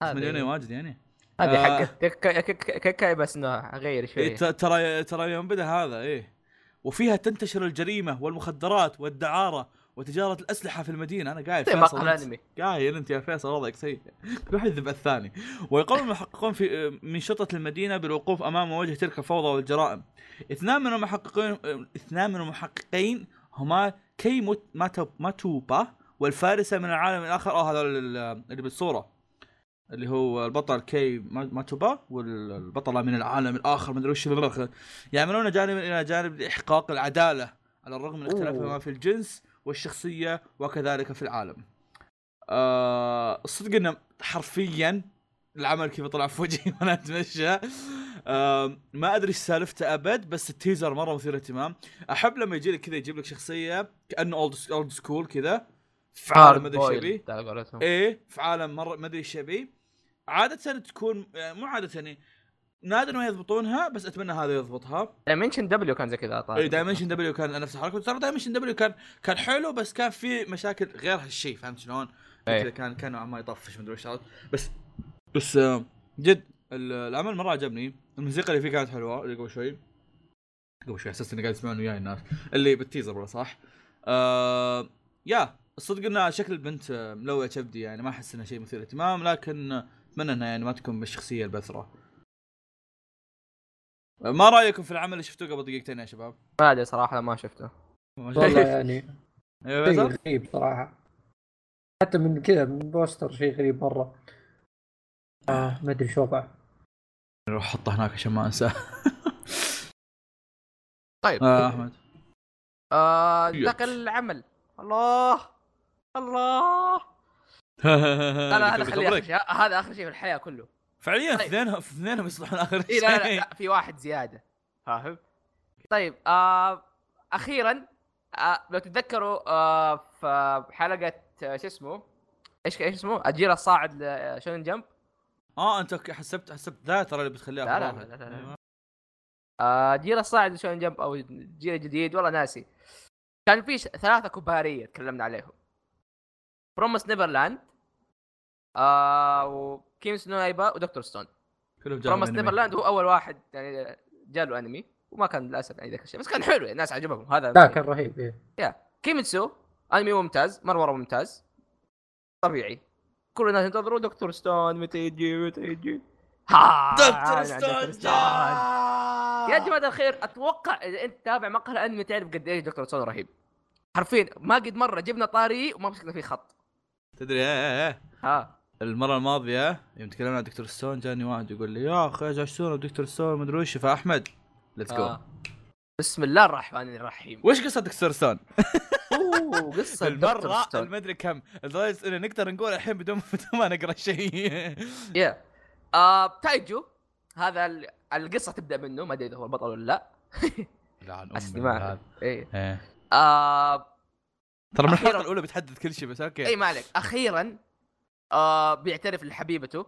S1: هذه-
S3: مليونين واجد يعني
S1: هذه
S3: آه.
S1: حقت كك- كك- ككاي بس انه اغير
S3: إيه
S1: شوي
S3: ت- إيه. ترى ترى يوم بدا هذا ايه وفيها تنتشر الجريمه والمخدرات والدعاره وتجاره الاسلحه في المدينه انا قاعد
S1: زي
S3: فيصل،
S1: مقهى
S3: أنت-
S1: الانمي
S3: قايل انت يا فيصل وضعك سيء كل واحد يذب الثاني ويقوم المحققون في من شرطه المدينه بالوقوف امام وجه تلك الفوضى والجرائم اثنان من المحققين اثنان من المحققين هما كي موت- ماتو- ماتوبا والفارسه من العالم الاخر اه هذا ال- اللي بالصوره اللي هو البطل كي ما- ماتوبا والبطله من العالم الاخر مدري وش الرخ. يعملون جانب الى جانب لاحقاق العداله على الرغم من اختلافهما
S2: أوه.
S3: في الجنس والشخصيه وكذلك في العالم آه صدق انه حرفيا العمل كيف طلع في وجهي وانا اتمشى آه ما ادري ايش سالفته ابد بس التيزر مره مثير اهتمام احب لما يجي لك كذا يجيب لك شخصيه كانه اولد اولد سكول كذا في عالم ما ادري ايش يبيه
S1: على قولتهم
S3: ايه في عالم مره ما ادري ايش يبي عاده تكون يعني مو عاده يعني نادر ما يضبطونها بس اتمنى هذا يضبطها
S1: دايمنشن دبليو كان زي كذا طالع
S3: اي دايمنشن دبليو كان نفس الحركه ترى دايمنشن دبليو كان كان حلو بس كان في مشاكل غير هالشيء فهمت شلون؟
S1: إيه.
S3: كذا كان كان نوعاً ما يطفش مدري ايش عرفت؟ بس بس آه، جد ال- العمل مره عجبني الموسيقى اللي فيه كانت حلوه اللي قبل شوي قبل شوي حسيت اني قاعد يسمعون وياي الناس اللي بالتيزر برا صح؟ آه يا الصدق انها شكل البنت آه، ملوع كبدي يعني ما احس انها شيء مثير اهتمام لكن آه، اتمنى انها يعني ما تكون بالشخصيه البثره. آه، ما رايكم في العمل اللي شفتوه قبل دقيقتين يا شباب؟
S1: ما ادري صراحه ما شفته
S3: ما
S2: والله
S3: شايف؟
S2: يعني
S3: أيوة
S2: شيء
S3: فيصل؟
S2: غريب صراحه حتى من كذا من بوستر شيء غريب مره آه ما ادري شو وضعه
S3: نروح احطه هناك عشان ما انساه
S1: طيب
S3: آه، احمد
S1: آه، انتقل العمل الله الله لا لا هذا خليه آخر شيء. هذا اخر شيء في الحياه كله
S3: فعليا
S1: طيب.
S3: اثنينهم اثنينهم يصلحون اخر
S1: اي
S3: شيء
S1: لا, لا لا في واحد زياده فاهم طيب آه اخيرا آه لو تتذكروا آه في حلقه آه، شو اسمه ايش ايش اسمه اجير الصاعد لشونن جمب
S3: اه انت ك- حسبت حسبت ذا ترى اللي بتخليها
S1: لا، لا،
S3: في
S1: لا، لا، لا، لا.
S3: أيوة.
S1: آه جيل الصاعد لشونن جمب او الجيل الجديد والله ناسي كان في ش- ثلاثه كباريه تكلمنا عليهم برومس نيفرلاند آه وكيمس نويبا ودكتور ستون
S3: كلهم جاهم
S1: برومس
S3: anime.
S1: نيفرلاند هو اول واحد يعني جاله انمي وما كان للاسف يعني ذاك الشيء بس كان حلو يعني الناس عجبهم هذا
S2: لا كان رهيب إيه.
S1: كيميتسو انمي ممتاز مرمره ممتاز طبيعي كل الناس ينتظروا دكتور ستون متى يجي متى يجي ها
S3: دكتور
S1: أنا
S3: ستون
S1: يا جماعه الخير اتوقع اذا انت تتابع مقهى الانمي تعرف قد ايش دكتور ستون رهيب حرفيا ما قد مره جبنا طاري وما مسكنا فيه خط
S3: تدري ايه ايه
S1: ها
S3: المره الماضيه يوم تكلمنا عن دكتور ستون جاني واحد يقول لي يا اخي جاشتونا دكتور ستون مدري وش فاحمد ليتس جو
S1: آه. بسم الله الرحمن الرحيم
S3: وش قصه دكتور ستون؟
S1: اوه قصه دكتور
S3: المره
S1: ستون
S3: المدري كم لدرجه انه نقدر نقول الحين بدون بدون ما نقرا شيء
S1: يا آه تايجو هذا ال- القصه تبدا منه ما ادري اذا هو البطل ولا لا
S3: لعن
S1: أصلي ما أعرف.
S3: أمي
S1: ايه
S3: هذا.
S1: آه
S3: ترى من
S1: أخيراً.
S3: الحلقه الاولى بتحدد كل شيء بس اوكي
S1: اي ما عليك اخيرا آه بيعترف لحبيبته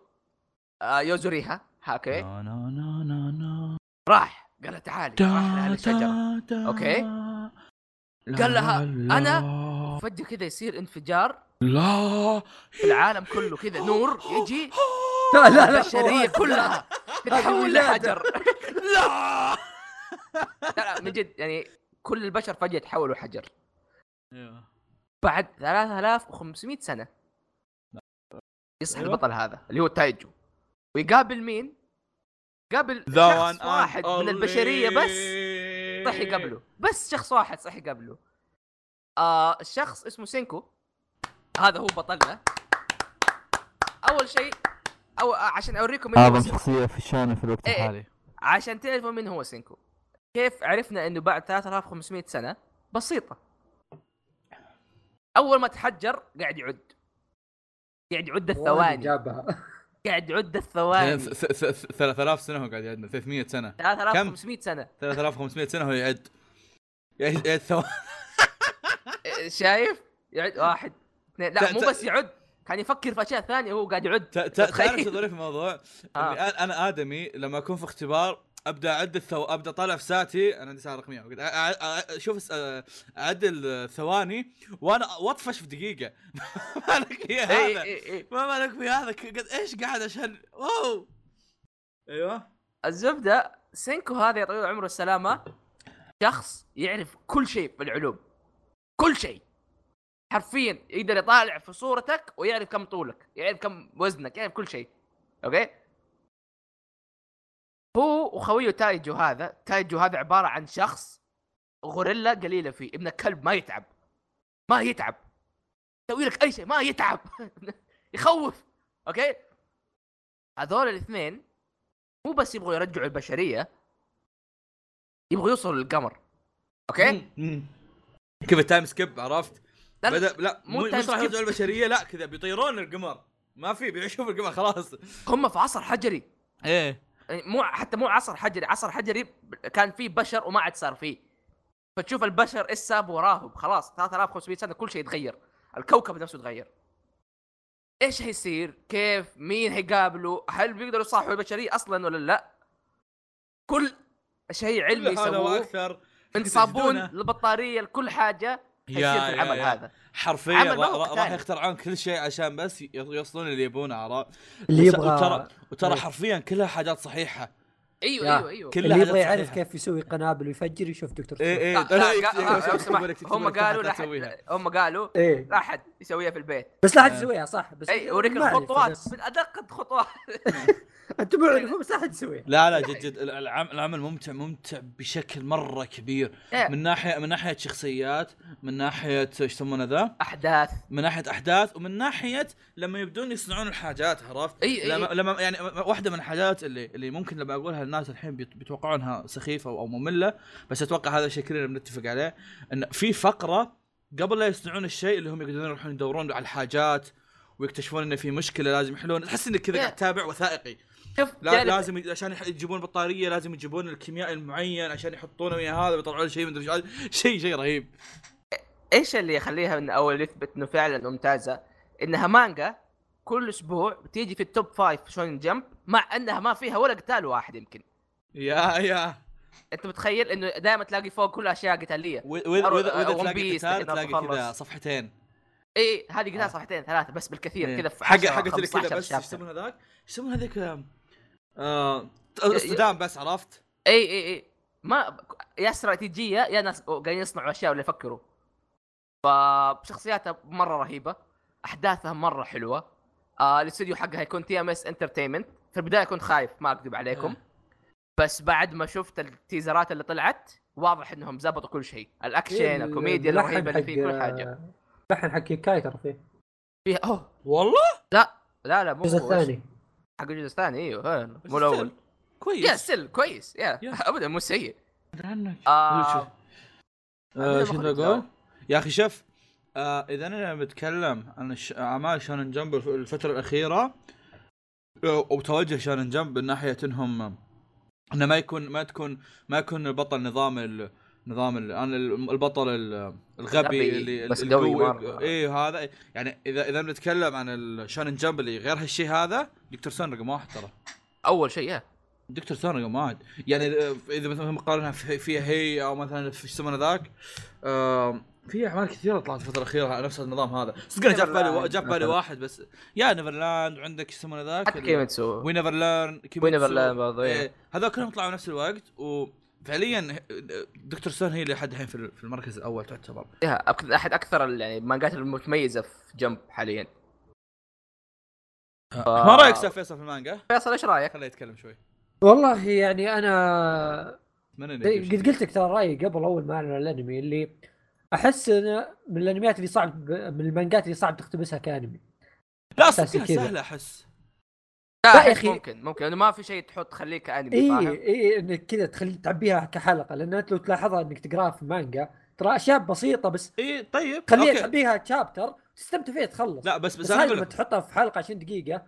S1: آه يوزوريها اوكي
S2: نعم.
S3: نا- نا- نا- نا- نا.
S1: راح قال لها تعالي راح لها الشجره
S3: دا-
S1: أوكي.
S3: لا-
S1: قال لها،
S3: لا-
S1: أنا- فجأة كذا يصير انفجار
S3: لا
S1: في العالم كله كذا نور يجي
S2: لا لا لا
S1: البشريه كلها تتحول
S2: ولادة.
S1: لحجر
S3: لا
S1: لا لا من جد يعني كل البشر فجأة تحولوا حجر بعد 3500 سنة يصحى
S3: أيوة.
S1: البطل هذا اللي هو تايجو ويقابل مين؟ قابل
S3: ذا
S1: شخص واحد من البشرية بس صحي قبله بس شخص واحد صحي قبله آه الشخص اسمه سينكو هذا هو بطلنا اول شيء او عشان اوريكم إنه
S4: اعظم
S1: بس-
S4: شخصيه في الشانه في الوقت
S1: إيه.
S4: الحالي
S1: عشان تعرفوا مين هو سينكو كيف عرفنا انه بعد 3500 سنه بسيطه اول ما تحجر قاعد يعد قاعد يعد الثواني
S2: جابها
S1: قاعد يعد الثواني
S3: 3000 سنه هو قاعد يعدنا 300 سنه
S1: 3500 سنه
S3: 3500 سنه هو يعد يعد يعد ثواني
S1: إيه، شايف يعد واحد اثنين لا
S3: تا-
S1: مو
S3: تا-
S1: بس يعد كان يفكر في اشياء ثانيه وهو قاعد يعد
S3: ت- ت- تعرف
S1: تخيل.
S3: شو ظريف الموضوع؟
S1: آه.
S3: إني أنا- انا ادمي لما اكون في اختبار ابدا اعد الثو... ابدا اطالع في ساعتي انا عندي ساعه رقميه أ- أ- أ- اشوف الس- اعد الثواني وانا واطفش في دقيقه ما لك فيها
S1: اي
S3: هذا
S1: اي اي
S3: ما مالك في هذا ك- قد ايش قاعد عشان واو ايوه
S1: الزبده سينكو هذا يا طويل العمر والسلامه شخص يعرف كل شيء بالعلوم كل شيء حرفيا يقدر يطالع في صورتك ويعرف كم طولك يعرف كم وزنك يعرف كل شيء اوكي هو وخويه تايجو هذا تايجو هذا عباره عن شخص غوريلا قليله فيه ابن كلب ما يتعب ما يتعب يسوي لك اي شيء ما يتعب يخوف اوكي هذول الاثنين مو بس يبغوا يرجعوا البشريه يبغوا يوصلوا للقمر اوكي
S3: كيف التايم سكيب عرفت؟
S1: لا لا،
S3: بدا لا
S1: مو
S3: مو مش
S1: تايم
S3: راح
S1: سكيب.
S3: يرجعوا البشريه لا كذا بيطيرون القمر ما في بيعيشون في القمر خلاص
S1: هم في عصر حجري
S3: ايه
S1: يعني مو حتى مو عصر حجري عصر حجري ب- كان فيه بشر وما عاد صار فيه فتشوف البشر ايش ساب وراهم خلاص 3500 سنه كل شيء يتغير الكوكب نفسه تغير ايش حيصير كيف مين حيقابله هل بيقدروا يصحوا البشريه اصلا ولا لا كل شيء علمي
S3: كل هذا
S1: يسووه
S3: واكثر
S1: من صابون
S3: يسجدونه.
S1: البطاريه لكل حاجه
S3: يا-
S1: حيصير في
S3: يا-
S1: العمل
S3: يا.
S1: هذا
S3: حرفيا
S1: عمل
S3: را- را-
S1: موقف
S3: راح
S1: ثاني.
S3: يخترعون كل شيء عشان بس ي- يوصلون اللي يبونه عرفت
S2: اللي
S3: وس-
S2: يبغى-
S3: وترى وترى
S2: إيه.
S3: حرفيا كلها حاجات صحيحه
S1: ايوه
S3: أيوة،
S2: يا.
S1: ايوه ايوه
S3: كلها
S2: اللي يبغى
S3: حاجات
S2: يعرف
S3: صحيحة.
S2: كيف يسوي قنابل ويفجر يشوف دكتور
S3: ايه
S2: سلو.
S3: ايه
S1: لا،
S3: لا،
S1: لا،
S3: يكتب-
S1: قا-
S3: يكتب-
S1: لو
S3: يكتب
S1: سمحت،
S3: لك- يكتب
S1: هم
S3: لك
S1: قالوا
S3: حاجات
S1: لا
S3: تسويها.
S1: أحد- هم قالوا
S2: ايه
S1: لا احد يسويها في البيت
S2: بس لا احد
S3: آه.
S2: يسويها صح بس
S1: اي اوريك
S2: ما أعرف
S1: إيه. الخطوات
S2: بس-
S1: من ادق الخطوات
S2: انتم مو عارفين، بس لا احد يسويها
S3: لا لا جد جد العم- العمل ممتع ممتع بشكل مره كبير
S1: إيه.
S3: من ناحيه من ناحيه شخصيات من ناحيه ايش يسمونه ذا
S1: احداث
S3: من ناحيه احداث ومن ناحيه لما يبدون يصنعون الحاجات عرفت
S1: إي- إي-
S3: لما
S1: إي.
S3: لما يعني واحده من الحاجات اللي اللي ممكن لما اقولها الناس الحين بيت- بيتوقعونها سخيفه او ممله بس اتوقع هذا الشيء كلنا بنتفق عليه ان في فقره قبل لا يصنعون الشيء اللي هم يقدرون يروحون يدورون على الحاجات ويكتشفون انه في مشكله لازم يحلون تحس انك كذا
S1: إيه.
S3: قاعد تتابع وثائقي
S1: شوف
S3: لا
S1: جانب-
S3: لازم ي- عشان يح- يجيبون بطاريه لازم يجيبون الكيمياء المعين عشان يحطونه ويا هذا بيطلعوا له شيء مدري إيش. شيء شيء رهيب
S1: ايش اللي يخليها من او اللي يثبت انه فعلا ممتازه انها مانجا كل اسبوع بتيجي في التوب فايف شون جمب مع انها ما فيها ولا قتال واحد يمكن
S3: يا يا
S1: انت متخيل انه دائما تلاقي فوق كل اشياء قتاليه
S3: و- واذا
S1: أرو-
S3: واذا
S1: آه، One
S3: واذا تلاقي
S1: Piece
S3: قتال
S1: تقدر
S3: تلاقي
S1: تخلص.
S3: كذا صفحتين
S1: اي إيه، هذه قتال
S3: آه. إيه.
S1: صفحتين ثلاثه بس بالكثير كذا في
S3: حق
S1: 10
S3: حق اللي
S1: 15
S3: كذا بس ايش
S1: شابتر.
S3: يسمون هذاك؟ ايش يسمون هذيك آم، آه، اصطدام بس عرفت؟
S1: اي اي اي ما يا استراتيجيه يا ناس قاعدين يصنعوا اشياء ولا يفكروا فشخصياتها مره رهيبه احداثها مره حلوه آه الاستوديو حقها يكون تي ام اس انترتينمنت في البدايه كنت خايف ما اكذب عليكم بس بعد ما شفت التيزرات اللي طلعت واضح انهم زبطوا كل شيء الاكشن الكوميديا
S2: إيه، اللحن
S1: الرهيبه اللي
S2: حق- آه.
S1: فيه كل حاجه
S2: لحن حق كيكاي ترى فيه
S1: فيها اوه
S3: والله
S1: لا لا مو
S2: الجزء
S1: هو، إيش-
S2: الثاني
S1: حق الجزء الثاني ايوه ها،
S3: بس
S1: مو الاول
S3: still
S1: يا
S3: كويس
S1: سل كويس يا
S3: Yes.
S1: ابدا مو سيء
S3: عنك
S1: آه.
S3: شوف. آه،
S1: خلينا
S3: شو
S1: ناخذ
S3: بدي
S1: الجواب.
S3: اقول؟ يا اخي شوف آه، اذا انا بتكلم عن الش- اعمال شانن جمب الف- الفتره الاخيره آه، وتوجه شانن جمب من ناحيه انهم آه، انه ما يكون ما تكون ما يكون البطل نظام ال نظام ال أنا ال- البطل ال- الغبي
S1: غبي،
S3: اللي
S1: بس
S3: القوي-
S1: قوي مرة.
S3: اي هذا يعني اذا اذا بنتكلم عن الشانن جمب اللي غير هالشيء هذا دكتور سون رقم واحد ترى
S1: اول شيء يا
S3: دكتور سون رقم واحد يعني اذا إذا مثلا مقارنها في- فيها هي او مثلا في ايش يسمونه ذاك آم، في اعمال كثيره طلعت الفتره الاخيره على نفس النظام هذا صدق أنا جاب بالي وا- جاب بالي واحد بس يا نيفرلاند وعندك ايش يسمونه ذاك
S1: حتى كيميتسو
S3: وي نيفر ليرن كيميتسو.
S1: وي نيفر ليرن برضو، إيه.
S3: إيه، هذول كلهم طلعوا نفس الوقت وفعليا دكتور سون هي لحد الحين في في المركز الاول تعتبر
S1: يا أك- احد اكثر ال- يعني المانجات المتميزه في جمب حاليا
S2: آه.
S3: ما رايك استاذ فيصل في المانجا؟
S1: فيصل ايش رايك؟
S3: خليه يتكلم شوي
S2: والله يعني انا
S3: اتمنى إنه يجيب شيء.
S2: قد إيه، طيب، قلت لك ترى رايي قبل اول ما اعلن عن الانمي اللي احس انه من الانميات اللي صعب من المانجات اللي صعب تقتبسها كانمي
S3: لا
S2: أساسي
S3: صدق
S2: كذا.
S3: سهله احس
S1: لا إيه.
S2: لا يا
S1: أحس
S2: أخي.
S1: ممكن ممكن لانه ما في شيء تحط تخليك انمي
S3: إيه،
S2: اي
S1: فاهم؟
S2: اي انك إيه، كذا تخلي تعبيها كحلقه لان انت لو تلاحظها انك تقراها في مانجا ترى اشياء بسيطه بس
S3: اي طيب
S2: خليها
S3: أوكي.
S2: تعبيها تشابتر تستمتع فيها تخلص
S3: لا بس
S2: بس,
S3: بس
S2: هذه
S3: انا اقول
S2: لما
S3: لك
S2: تحطها في حلقه 20 دقيقه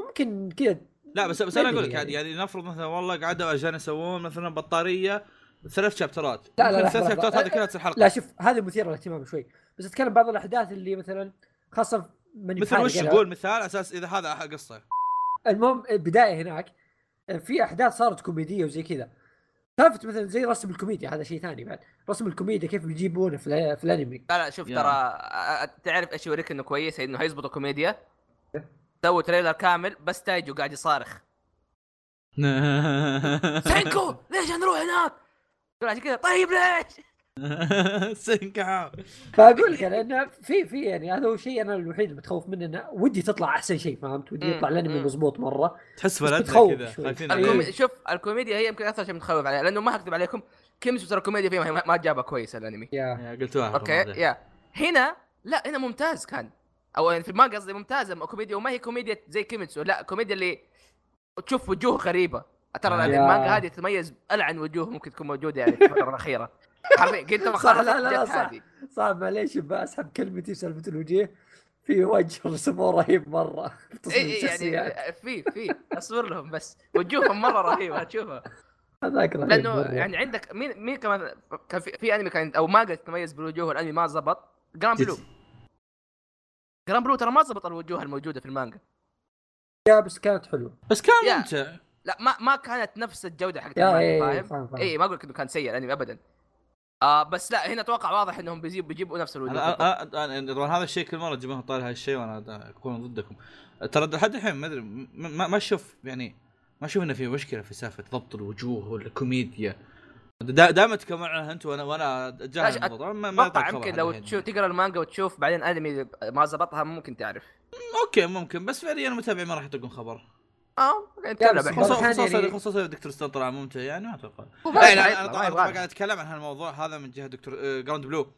S2: ممكن كذا
S3: لا بس بس انا
S2: مدري
S3: اقول لك يعني, يعني نفرض مثلا والله قعدوا عشان يسوون مثلا بطاريه ثلاث شابترات
S2: لا،
S3: ممكن
S2: لا،
S3: ثلاث
S2: لحظة،
S3: شابترات
S2: لحظة.
S3: هذه كلها تصير حلقه
S2: لا شوف هذه مثيره للاهتمام شوي بس اتكلم بعض الاحداث اللي مثلا خاصه من
S3: مثل
S2: يحارب
S3: وش
S2: يعني.
S3: قول مثال على اساس اذا هذا أح- قصه
S2: المهم البدايه هناك في احداث صارت كوميديه وزي كذا سالفه مثلا زي رسم الكوميديا هذا شيء ثاني بعد رسم الكوميديا كيف بيجيبونه في, الأ- في الانمي
S1: لا لا شوف
S3: يا.
S1: ترى أ- أ- تعرف ايش يوريك انه كويس انه هيزبطوا كوميديا سووا تريلر كامل بس تايجو قاعد يصارخ سينكو ليش نروح هناك؟ يقول عشان كذا طيب ليش؟
S3: سنكا
S2: فاقول لك لان في في يعني هذا هو الشيء انا الوحيد اللي بتخوف منه انه ودي تطلع احسن شيء فهمت ودي يطلع
S1: مم،
S2: الانمي
S1: مم.
S2: مضبوط مره
S3: تحس
S2: بس
S3: فلتنا
S2: بتخوف
S3: كذا
S2: شوي.
S3: خايفين
S1: الكومي...
S3: عليه.
S2: إيه.
S1: شوف الكوميديا هي يمكن اكثر شيء متخوف عليه لانه ما اكذب عليكم كم سلسله الكوميديا فيها ما- ما جابها كويس الانمي
S2: يا
S3: يا قلتوها
S1: اوكي يا هنا لا هنا ممتاز كان او يعني في المانجا قصدي ممتازه ما كوميديا وما هي كوميديا زي كيميتسو لا كوميديا اللي تشوف وجوه غريبه ترى
S3: آه.
S1: هذه المانجا هذه تتميز العن وجوه ممكن تكون موجوده يعني في الفتره الاخيره حرفيا قلت ما
S2: صح،
S1: خلاص
S2: لا، لا، لا،
S1: جت
S2: صح.
S1: هذه.
S2: صعب معليش بسحب كلمتي في سالفه الوجيه في وجه رسمه رهيب مره في تصميم
S1: إيه، إيه،
S2: الشخصيات
S1: يعني في في اصبر لهم بس وجوههم مره رهيبه تشوفها
S2: هذاك رهيب
S1: لانه
S2: مرة.
S1: يعني عندك مين مين كمان كان في, في انمي كان او مانجا تتميز بالوجوه الانمي ما زبط جرام بلو جرام بلو ترى ما زبط الوجوه الموجوده في المانجا
S2: يا بس كانت حلوه
S3: بس كان
S1: يا.
S3: ممتع
S1: لا ما ما كانت نفس الجوده حقت
S2: يا
S1: المانجا
S2: اي
S1: فاهم؟
S2: فاهم فاهم
S1: اي ما اقول لك انه كان سيء الانمي ابدا آه بس لا هنا اتوقع واضح انهم بيجيبوا بيجيبوا نفس
S3: أنا-
S1: الوجوه بالضبط.
S3: أنا- أنا- طبعا هذا الشيء كل مره تجيبون طاري هالشيء وانا اكون ضدكم ترى لحد الحين ما ادري ما- ما ما اشوف يعني ما اشوف انه في مشكله في سالفه ضبط الوجوه ولا كوميديا دا- دائما تكلمون عنها انتم وانا وانا اتجاهل
S1: لا، أت-
S3: الموضوع طبعاً ما ما
S1: اتوقع
S3: أتذكر
S1: يمكن
S3: هذا
S1: لو
S3: الحين.
S1: تشوف تقرا المانجا وتشوف بعدين انمي ما زبطها ممكن تعرف
S3: اوكي ممكن بس فعليا المتابعين ما راح يطلقون خبر
S1: اه نتكلم
S2: بس
S1: الحين
S2: خلاص.
S3: خصوصا
S2: كان
S3: خصوصا
S2: يعني-
S3: خصوصا دكتور ستون طلع ممتع يعني ما اتوقع
S1: هو ما
S3: لا
S1: يبغى
S3: لا انا
S1: يطلع،
S3: طبعا
S1: ما يبغى
S3: أنا طبعاً
S1: يطلع.
S3: قاعد اتكلم عن هالموضوع هذا من جهه دكتور آه، جراوند بلو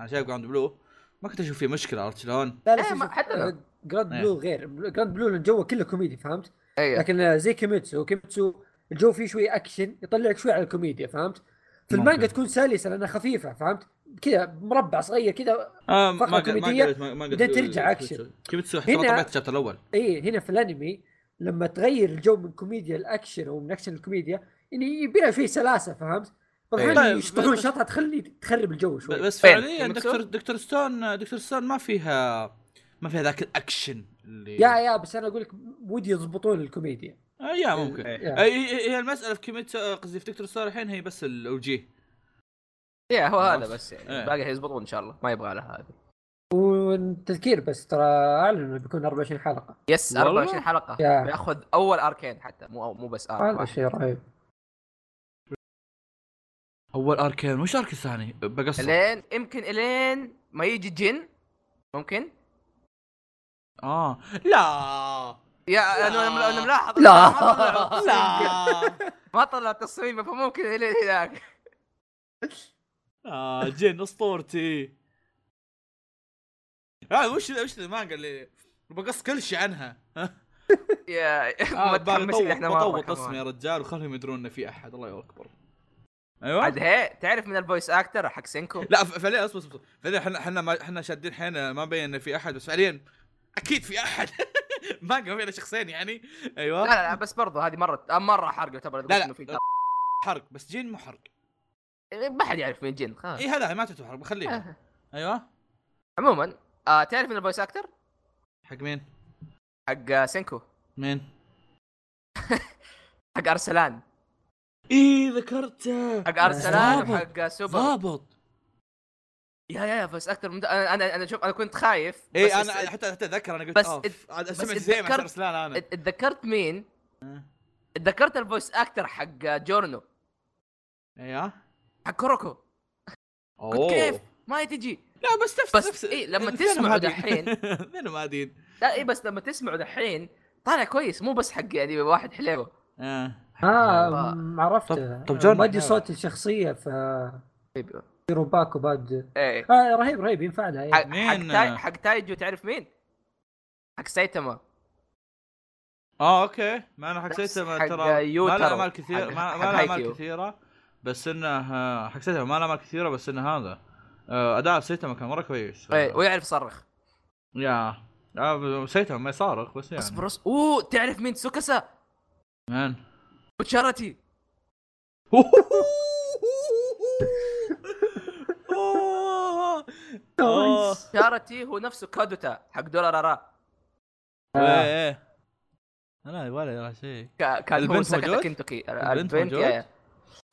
S3: انا شايف جراوند بلو ما كنت اشوف فيه مشكله عرفت شلون؟
S2: لا لا
S1: إيه،
S2: شوف
S1: ما-
S2: شوف،
S1: حتى لو.
S2: آه، جراند
S3: إيه.
S2: بلو غير جراند بلو الجو كله كوميدي فهمت
S1: أيوه.
S2: لكن آه، زي كيميتسو كيميتسو الجو فيه شوي اكشن يطلعك شوي على الكوميديا فهمت في المانجا
S3: ممكن.
S2: تكون سلسه لانها خفيفه فهمت كذا مربع صغير كذا
S3: آه ما
S2: فقرة
S3: قد- ما
S2: كوميدية،
S3: قدرت- ما- ما قدرت-
S2: بعدين ترجع
S3: كيف
S2: أكشن.
S3: تسوي- كيف تسوي حتى
S2: هنا-
S3: طبيعه الشابتر الاول
S2: اي إيه، هنا في الانمي لما تغير الجو من كوميديا الاكشن او من اكشن الكوميديا يعني يبي لها شوي سلاسه فهمت؟
S3: طيب،
S2: فالحين يشطحون
S3: بس-
S2: شطحه تخلي تخرب الجو
S3: ب-
S2: شوي
S3: بس
S1: فين؟
S3: فعليا
S1: كيميتسو؟
S3: دكتور دكتور ستون دكتور ستون ما فيها ما فيها ذاك الاكشن اللي
S2: يا يا بس انا اقول لك ودي يضبطون الكوميديا
S3: آه يا ممكن
S2: يا.
S3: آه، هي- هي هي المساله في كيميتسو قصدي في دكتور ستون الحين هي بس الاوجيه
S1: يا هو هذا
S3: خلاص.
S1: بس يعني
S3: إيه.
S1: باقي يزبطون ان شاء الله ما يبغى لها هذه
S2: والتذكير بس ترى اعلن انه بيكون 24 حلقه
S1: يس
S3: والله؟
S1: 24 حلقه
S2: يا.
S1: بياخذ اول اركين حتى مو مو بس آه،
S3: طيب.
S2: هذا
S1: ارك
S2: شيء رهيب
S3: اول اركين وش ارك الثاني بقصر
S1: الين يمكن الين ما يجي جن ممكن
S3: اه لا
S1: يا انا انا أنا ملاحظ
S2: لا.
S1: ما طلعوا تصميم جن.
S3: لا
S1: ما طلع تصميمه فممكن الين هناك
S3: آه جن اسطورتي آه وش وش المانجا اللي بقص كل شيء عنها
S1: يا
S3: آه
S1: متحمسين احنا مرة
S3: بطوط
S1: كمان.
S3: اسمي يا رجال وخلهم يدرون ان في احد الله اكبر ايوه
S1: عاد هي تعرف من الفويس اكتر حق سينكو
S3: لا ف- فعليا اصبر اصبر فعليا احنا احنا ما- احنا شادين حيلنا ما بين ان في احد بس فعليا اكيد في احد مانجا ما بين شخصين يعني ايوه
S1: لا لا, لا بس برضو هذه مره آه، مره حرق يعتبر
S3: لا، لا.
S1: إنه في-
S3: حرق بس جين مو حرق
S1: ما حد يعرف مين جن خلاص
S3: اي هذا ما تعتبر حرق بخليها
S1: آه.
S3: ايوه
S1: عموما آه تعرف من الفويس اكتر
S3: حق مين؟
S1: حق آه، سينكو
S3: مين؟
S1: حق ارسلان
S3: اي ذكرته
S1: حق ارسلان
S3: ضابط.
S1: وحق آه، سوبر
S3: ضابط
S1: يا يا بس اكثر من انا انا انا شوف انا كنت خايف
S3: اي
S1: بس
S3: انا
S1: ات-
S3: إيه، حتى حتى اتذكر انا قلت
S1: بس
S3: اوف
S1: ات-
S3: عاد
S1: بس إيه.
S3: سمعت زي ما
S1: اتذكرت-
S3: ارسلان انا
S1: ات- اتذكرت مين
S3: آه.
S1: اتذكرت الفويس اكتر حق جورنو
S3: ايوه
S1: حق كوروكو
S3: اوه
S1: كيف؟ ما تجي
S3: لا بس نفس
S1: بس
S3: نفس
S1: إيه، لما
S3: فينهم
S1: تسمعوا
S3: هادين؟
S1: دحين.
S3: فينهم هادين؟
S1: لا اي بس لما تسمعوا دحين طالع كويس مو بس حق يعني واحد حليوه
S3: اه
S2: اه م- عرفت
S3: طب- طب جون-
S2: ما ادري صوت الشخصيه في
S1: حبيبي.
S2: روباكو بعد
S1: ايه
S2: آه رهيب رهيب ينفع لها
S1: حق
S2: إيه.
S1: حق
S3: مين؟
S1: تاي... حق تايجو تعرف مين؟ حق سايتاما
S3: اه اوكي مع انه حق
S1: نفس
S3: سيتما
S1: حق
S3: ترى
S1: يوترو.
S3: ما له اعمال
S1: حق-
S3: كثيره ما
S1: حق
S3: ما له اعمال
S1: هايكيو.
S3: كثيره بس انه آه، حق سيتما ما له اعمال كثيره بس انه هذا آه، اداء سيتما كان مره كويس آه،
S1: ايه ويعرف يصرخ
S3: يعني. يا آه، سيتما ما يصارخ بس يعني
S1: اصبر اصبر اوه تعرف مين سوكاسا؟
S3: مان
S1: وتشارتي
S3: أوه. أوه.
S2: نايس.
S1: تشارتي هو نفسه كادوتا حق دولارارا
S2: آه،
S3: ايه ايه لا ولا إيه، يرى شيء
S1: كا- كان هو
S3: البنت
S1: ساكتا
S3: موجود؟
S1: كنتوكي
S3: البنت
S1: البنت
S3: موجود؟
S1: يا- يا.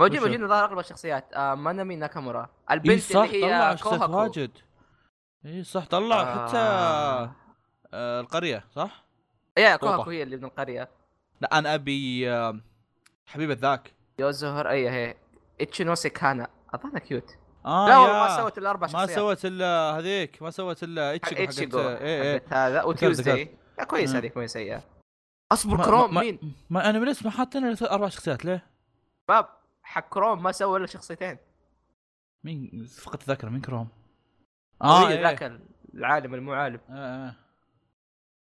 S1: موجود
S3: وشو؟
S1: موجود من ظهر اغلب الشخصيات آه مانامي ناكامورا
S3: اي
S1: البنت
S3: صح
S1: اللي
S3: طلع
S1: هي
S3: شخصيات
S1: كوهاكو
S3: واجد اي صح طلع حتى
S1: آه.
S3: آه، القريه صح؟
S1: يا
S3: طوبة.
S1: إيه، كوهاكو هي اللي من القريه
S3: لا انا ابي آه، حبيبه ذاك
S1: إيه، يوزوهر اي هي اتشينوسي كانا اظنها كيوت لا
S4: اه
S1: آه، لا
S4: يا.
S1: ما سوت
S4: ما
S1: الاربع شخصيات
S4: سوت الا هذيك ما سوت الا ايتشيكو حقت
S1: اتشيجو
S4: ايه ايه
S1: حقت هذا وتيوزداي لا كويس
S4: مم.
S1: هذيك ما هي سيئه اصبر
S4: ما-
S1: كروم
S4: ما-
S1: مين؟
S4: ما انا من الاسم حاطين إلا ثلاث- اربع شخصيات ليه؟
S1: باب حق كروم ما سوى الا شخصيتين
S4: مين فقدت الذاكره مين كروم؟
S1: آه
S4: إيه.
S1: ذاك العالم المعالم
S4: آه، آه.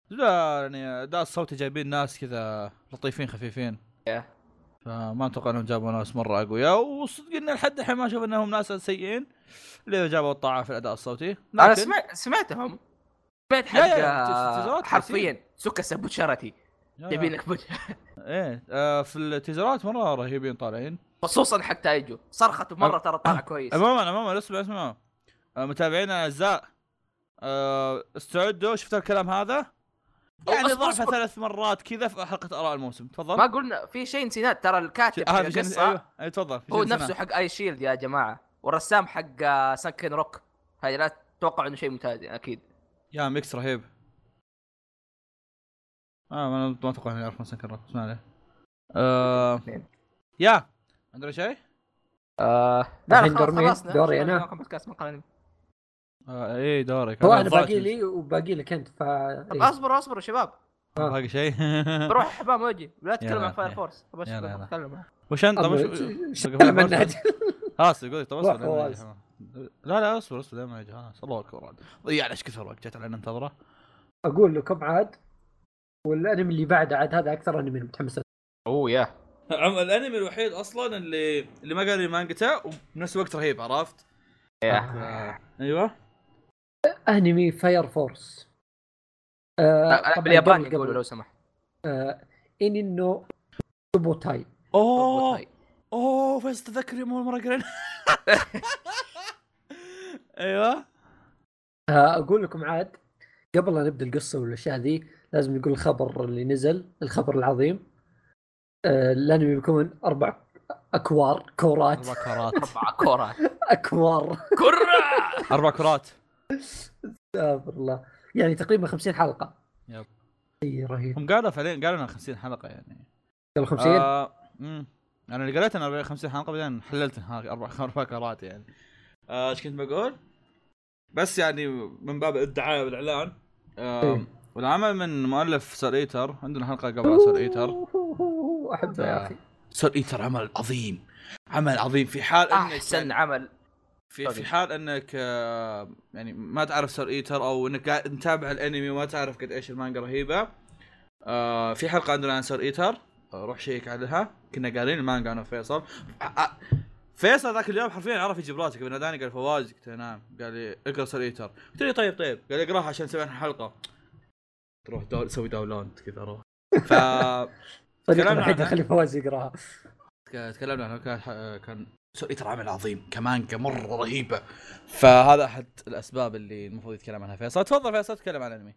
S4: لا يعني ده الصوتي جايبين ناس كذا لطيفين خفيفين
S1: إيه.
S4: فما اتوقع انهم جابوا ناس مره اقوياء وصدق ان لحد الحين ما اشوف انهم ناس سيئين اللي جابوا الطاعه في الاداء الصوتي
S1: انا
S4: لكن-
S1: سمعت سمعتهم سمعت
S4: لا،
S1: حق
S4: لا، تيزرات
S1: حرفيا سكا سبوتشارتي
S4: يا-
S1: جايبينك بوت-
S4: ايه آه، في التيزرات مره رهيبين طالعين
S1: خصوصا حق تايجو صرخته مره ترى طالع كويس
S4: عموما عموما اسمع اسمع آه، متابعينا الاعزاء آه، استعدوا شفتوا الكلام هذا؟ يعني
S1: أصبر،
S4: ضعفه
S1: أصبر.
S4: ثلاث مرات كذا في حلقه اراء الموسم تفضل
S1: ما قلنا في شيء نسيناه ترى الكاتب حق
S4: هذا شيء-
S1: القصه
S4: ايوه أيوة، تفضل في
S1: هو
S4: شيء
S1: نفسه
S4: نسيناه.
S1: حق اي شيلد يا جماعه والرسام حق آه، سانكن روك هاي لا تتوقع انه شيء ممتاز يعني اكيد
S4: يا ميكس رهيب اه ما ما اتوقع اني اعرف مسكر اسمع عليه آه
S1: اثنين.
S4: يا عندنا شيء؟
S1: آه لا
S2: الحين
S1: لا، خلاص
S2: دور مين؟
S1: خلصنا
S2: دوري أنا؟
S1: معكم بودكاست مقال أنمي.
S4: آه ايه دورك
S2: هو
S4: أنا
S2: انا
S4: ضاعت
S2: باقي
S4: من-
S2: لي وباقي لك انت ف إيه.
S4: إيه.
S1: طب اصبروا اصبروا شباب
S4: باقي شيء
S1: بروح حبام واجي لا تتكلم
S4: يلا،
S1: عن فاير
S4: يلا.
S1: فورس طب
S4: يلا، يلا.
S1: اتكلم عنه.
S4: وش انت طب وش-
S2: شكرا من نادي
S4: خلاص يقول لك طب
S2: روح
S4: اصبر لما
S2: فواز.
S4: يجي. لا لا اصبر اصبر لما يجي خلاص الله اكبر عاد ضيع ليش كثر وقت جت علينا ننتظره
S2: اقول لكم عاد والانمي اللي بعده عاد هذا اكثر انمي أنا متحمس له.
S1: اوه يا
S3: العم- الانمي الوحيد اصلا اللي اللي ما قاري مانجته وبنفس الوقت رهيب عرفت؟
S1: يا
S3: آه، ايوه
S2: انمي فاير فورس آه
S1: لا،
S2: طبعاً
S1: بالياباني
S2: قبل-
S1: يقولوا لو
S2: قبل
S1: سمحت
S2: ان انه سوبوتاي
S4: اوه اوه فاز تذكر يوم اول مره قرينا
S3: أيوة.
S4: ايوه
S2: آه، اقول لكم عاد قبل لا نبدا القصه والاشياء ذي لازم نقول الخبر اللي نزل الخبر العظيم آه، الانمي بيكون اربع اكوار كورات
S4: اربع كرات
S1: اربع كورات
S2: اكوار
S1: كرة
S4: اربع كرات
S2: استغفر الله يعني تقريبا 50 حلقه
S4: يب.
S2: اي رهيب
S3: آه،
S4: هم قالوا فعليا قالوا انها 50 حلقه يعني
S2: قبل 50 آه.
S4: امم انا اللي قريت انا 50 حلقه بعدين حللت إنها اربع اربع كرات يعني
S3: آه، ايش كنت بقول؟ بس يعني من باب الدعايه والاعلان آه،
S2: إيه.
S4: والعمل من مؤلف سر ايتر عندنا حلقه قبل سر ايتر
S2: احبه يا اخي
S3: سول ايتر عمل عظيم عمل عظيم في حال انك
S1: احسن عمل
S3: في, في حال انك آه، يعني ما تعرف سر ايتر او انك قاعد متابع الانمي وما تعرف قد ايش المانجا رهيبه آه، في حلقه عندنا عن سر ايتر آه، روح شيك عليها كنا قارين المانجا انا وفيصل آه، آه، فيصل ذاك اليوم حرفيا عرف يجيب راسك ناداني قال فواز قلت له نعم قال لي اقرا سر ايتر قلت له طيب طيب قال لي اقراها عشان نسوي عنها حلقه تروح دول سوي داونلود كذا روح ف
S2: صديقنا
S3: كلامنا
S2: الوحيد
S3: عن-
S2: خلي فواز يقراها
S3: تكلمنا عنه كان كان سويت عمل عظيم كمانجا مره رهيبه فهذا احد الاسباب اللي المفروض يتكلم عنها فيصل تفضل فيصل تكلم عن الانمي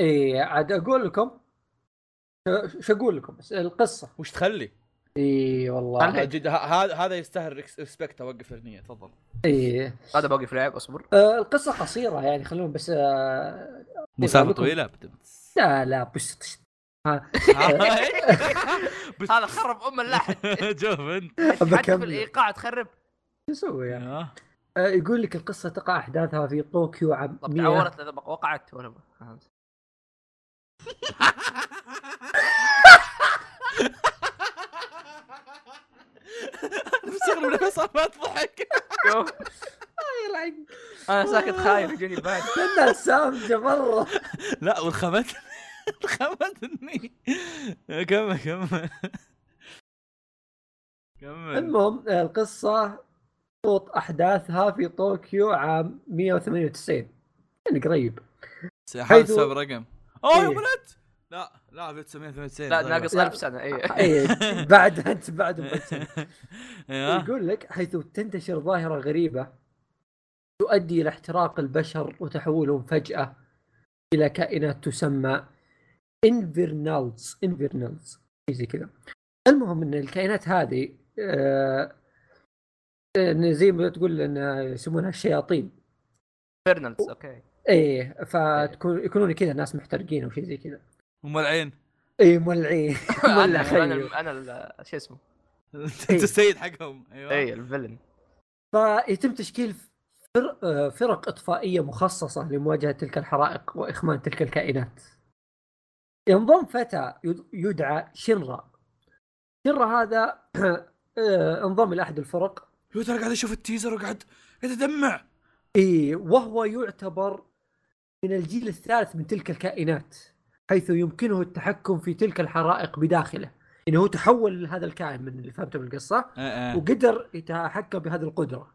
S2: اي عاد اقول لكم ش- شو اقول لكم بس القصه
S3: وش تخلي؟
S2: اي والله
S3: جد ه- هذا هذا يستاهل ريكس- ريسبكت اوقف الرنيه تفضل
S2: اي
S1: هذا بوقف لعب اصبر
S2: آه، القصة قصيرة يعني خلونا بس آه،
S4: مسافه
S2: لكم-
S4: طويله بدم.
S2: لا لا بس
S1: هذا خرب ام اللاحق
S4: شوف انت
S1: حتى في
S2: بكمل.
S1: الايقاع تخرب
S2: شو اسوي يعني
S4: أيوه.
S2: آه، يقول لك القصة تقع أحداثها في طوكيو عام
S1: طب
S2: 100
S1: تعورت لذا بق- وقعت ولا ما- فهمت.
S3: انا مستغرب إن فيصل ما تضحك
S1: شوف انا ساكت خايف يجوني بعد
S2: لأنها سامجة مرة
S4: لا والخمت خمتني كمل كمل كمل
S2: المهم آه، القصة خطوط أحداثها في طوكيو عام 198 يعني قريب حيث-
S4: حسب رقم اوه يا
S2: إيه.
S4: ولد لا لا 1998
S1: طيب. لا ناقص
S2: لا.
S1: 1000 سنه اي
S2: إيه بعد أنت بعد بس.
S3: أيوة. أه؟
S4: ايوه
S2: يقول لك حيث تنتشر ظاهرة غريبة تؤدي إلى احتراق البشر وتحولهم فجأة إلى كائنات تسمى انفيرنالز انفيرنالز شيء زي كذا المهم ان الكائنات هذه آه إن زي ما تقول ان يسمونها الشياطين
S1: فيرنالز اوكي
S2: ايه فتكون يكونون كذا ناس محترقين او شيء زي كذا
S4: ام العين
S2: ايه مولعين
S1: انا
S2: مولع
S1: انا
S2: خيو
S1: أنا- انا ال- شو اسمه
S2: أيوة.
S3: أيوة.
S1: أيوة.
S4: انت السيد حقهم ايوه
S1: اي الفيلن
S2: فيتم تشكيل فر- آه، فرق اطفائيه مخصصه لمواجهه تلك الحرائق واخماد تلك الكائنات. ينضم فتى يد- يدعى شنرا. شنرا هذا آه، انضم الى احد الفرق
S3: يو ترى قاعد اشوف التيزر وقاعد قاعد ادمع
S2: اي وهو يعتبر من الجيل الثالث من تلك الكائنات حيث يمكنه التحكم في تلك الحرائق بداخله يعني هو تحول لهذا الكائن من اللي فهمته من القصه
S3: ايه ايه
S2: وقدر يتحكم بهذه القدره